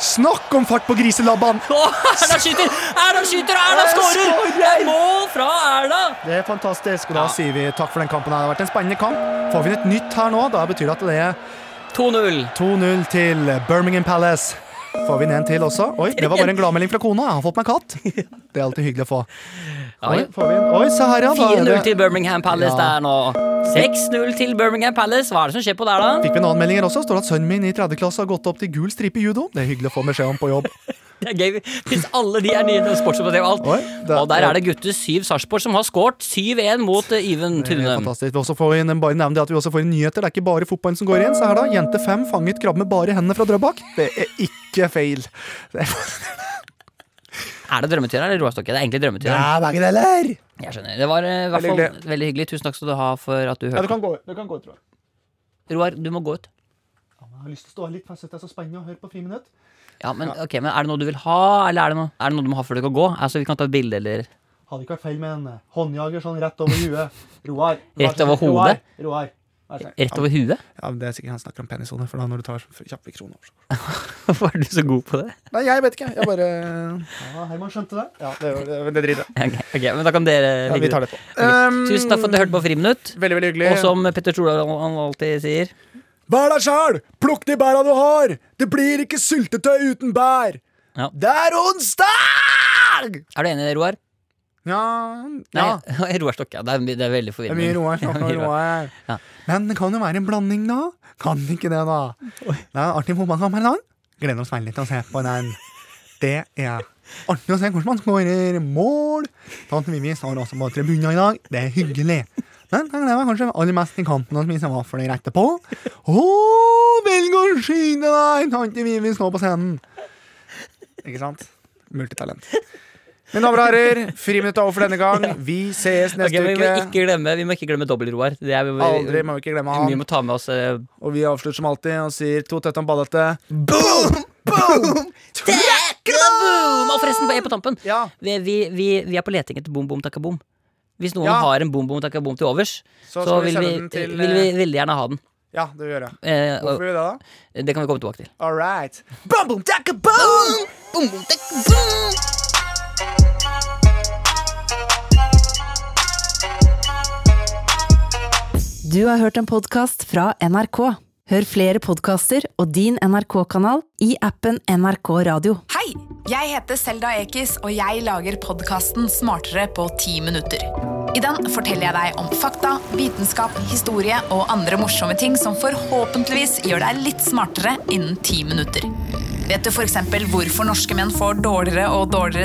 [SPEAKER 2] Snakk om fart på griselabban!
[SPEAKER 3] (laughs) Åh, Erna skyter! Erna skyter, og Erna
[SPEAKER 2] Jeg
[SPEAKER 3] skårer!
[SPEAKER 2] skårer!
[SPEAKER 3] Mål fra Erna!
[SPEAKER 2] Det er fantastisk. Og da
[SPEAKER 3] Ja.
[SPEAKER 2] sier vi takk for den kampen. her. Det har vært en spennende kamp. Får vi et nytt her nå, da betyr det at det er
[SPEAKER 3] 2-0.
[SPEAKER 2] 2-0 til Birmingham Palace. Får vi ned en til også? Oi, det var bare en gladmelding fra kona. Jeg har fått meg
[SPEAKER 3] (laughs)
[SPEAKER 2] katt. Det er alltid hyggelig å få. Oi, får vi en. Oi se her, ja. da er
[SPEAKER 3] 4-0
[SPEAKER 2] det-
[SPEAKER 3] til Birmingham Palace
[SPEAKER 2] Ja.
[SPEAKER 3] der nå. 6-0 til Birmingham Palace. Hva er det som skjer på der, da?
[SPEAKER 2] Fikk vi en annen melding her også? Står det at sønnen min i tredje klasse har gått opp til gul stripe i judo. Det er hyggelig å få beskjed om på
[SPEAKER 3] (laughs)
[SPEAKER 2] jobb.
[SPEAKER 3] Det er gøy hvis alle de er nye til sportsoperativ og alt.
[SPEAKER 2] Oi, det-
[SPEAKER 3] og der er det gutter syv Sarpsborg som har skåret 7-1 mot eh, Even
[SPEAKER 2] Det er
[SPEAKER 3] Tunum.
[SPEAKER 2] fantastisk. Vi også får inn, bare nevne det at vi også får inn nyheter. Det er ikke bare fotballen som går inn. Se her, da. Jente fem fanget krabbe med bare hendene fra Drøbak. Det er ikke feil. Det er
[SPEAKER 3] Er det drømmetyreren eller Roar Stokke? Det er egentlig drømmetyreren.
[SPEAKER 2] Ja, begge deler.
[SPEAKER 3] Jeg skjønner. Det var eh, i hvert
[SPEAKER 2] Veldig
[SPEAKER 3] fall
[SPEAKER 2] hyggelig.
[SPEAKER 3] veldig hyggelig. Tusen takk skal du ha for at du
[SPEAKER 2] Ja, du
[SPEAKER 3] hørte.
[SPEAKER 2] kan gå, du kan gå tror jeg.
[SPEAKER 3] Roar, du må gå ut.
[SPEAKER 2] Jeg har lyst til å stå her litt, for jeg synes det er så spennende å høre på friminutt.
[SPEAKER 3] Ja, men, ok, men er det noe du vil ha, eller er det noe, er det noe du må ha før du kan gå? Altså, vi kan ta et bilde, eller
[SPEAKER 2] Hadde ikke vært feil med en håndjager sånn rett over huet. Roar.
[SPEAKER 3] Rett over hodet?
[SPEAKER 2] Roar. Vær så snill.
[SPEAKER 3] rett over huet? (laughs)
[SPEAKER 2] Ja, men Det er sikkert han snakker om penishone, for da når du tar så kjappe kroner over.
[SPEAKER 3] Hvorfor er du så god på det?
[SPEAKER 2] Nei, jeg vet ikke. Jeg bare Ja, Herman skjønte det. Ja, det, det, det driter jeg i.
[SPEAKER 3] Ok, ok, men da kan dere
[SPEAKER 2] Ja, vi tar det på. Um,
[SPEAKER 3] Tusen takk for at du hørte på Friminutt.
[SPEAKER 2] Veldig, veldig hyggelig.
[SPEAKER 3] Og som Petter Stordalen alltid sier
[SPEAKER 2] Vær deg sjæl! Plukk de bæra du har! Det blir ikke syltetøy uten bær!
[SPEAKER 3] Ja.
[SPEAKER 2] Det er onsdag!
[SPEAKER 3] Er du enig, Roar?
[SPEAKER 2] Ja, ja.
[SPEAKER 3] Nei, (laughs) Roar Stokke. ja, Det er, det er veldig
[SPEAKER 2] Det er mye
[SPEAKER 3] forvirrende. (laughs)
[SPEAKER 2] roer. snakk om
[SPEAKER 3] mye
[SPEAKER 2] roer.
[SPEAKER 3] Ja.
[SPEAKER 2] Men det kan jo være en blanding, da. Kan det ikke det, da? Det er artig fotballkamp her i dag. Gleder oss veldig til å se på den. Det er artig å se hvordan man skårer mål. Sånn Tante Vivi står også på tribunen i dag. Det er hyggelig. Men jeg gleder meg kanskje aller mest til kampen og spise vafler etterpå. Å, velg å skyte deg! Tante Vivi står på scenen. Ikke sant? Multitalent. Mine damer og herrer, friminuttet er over for denne gang. Vi sees
[SPEAKER 3] Ok,
[SPEAKER 2] neste
[SPEAKER 3] men vi, må
[SPEAKER 2] uke.
[SPEAKER 3] ikke glemme, vi må ikke glemme dobbel-Roar. Det er- vi-
[SPEAKER 2] Aldri må vi ikke glemme
[SPEAKER 3] Vi
[SPEAKER 2] han.
[SPEAKER 3] må ta med oss eh,
[SPEAKER 2] Og vi avslutter som alltid og sier to tett om ballete.
[SPEAKER 3] Boom! Og forresten, bare på tampen.
[SPEAKER 2] Ja.
[SPEAKER 3] Vi, vi, vi, vi er på leting etter boom, boom, takka, boom. Hvis noen
[SPEAKER 2] Ja.
[SPEAKER 3] har en boom, boom, takka, boom til overs,
[SPEAKER 2] Så
[SPEAKER 3] så,
[SPEAKER 2] skal vi
[SPEAKER 3] vil, vi,
[SPEAKER 2] sende den til,
[SPEAKER 3] vil vi
[SPEAKER 2] eh,
[SPEAKER 3] veldig gjerne ha den.
[SPEAKER 2] Ja, det gjør jeg.
[SPEAKER 3] Eh, og,
[SPEAKER 2] Hvorfor gjør vi det, da?
[SPEAKER 3] det kan vi komme tilbake til.
[SPEAKER 2] All right. Boom, boom, takka, boom!
[SPEAKER 1] Du har hørt en podkast fra NRK. Hør flere podkaster og din NRK-kanal i appen NRK Radio.
[SPEAKER 6] Hei! Jeg heter Selda Ekiz, og jeg lager podkasten Smartere på ti minutter. I den forteller jeg deg om fakta, vitenskap, historie og andre morsomme ting som forhåpentligvis gjør deg litt smartere innen ti minutter. Vet du f.eks. hvorfor norske menn får dårligere og dårligere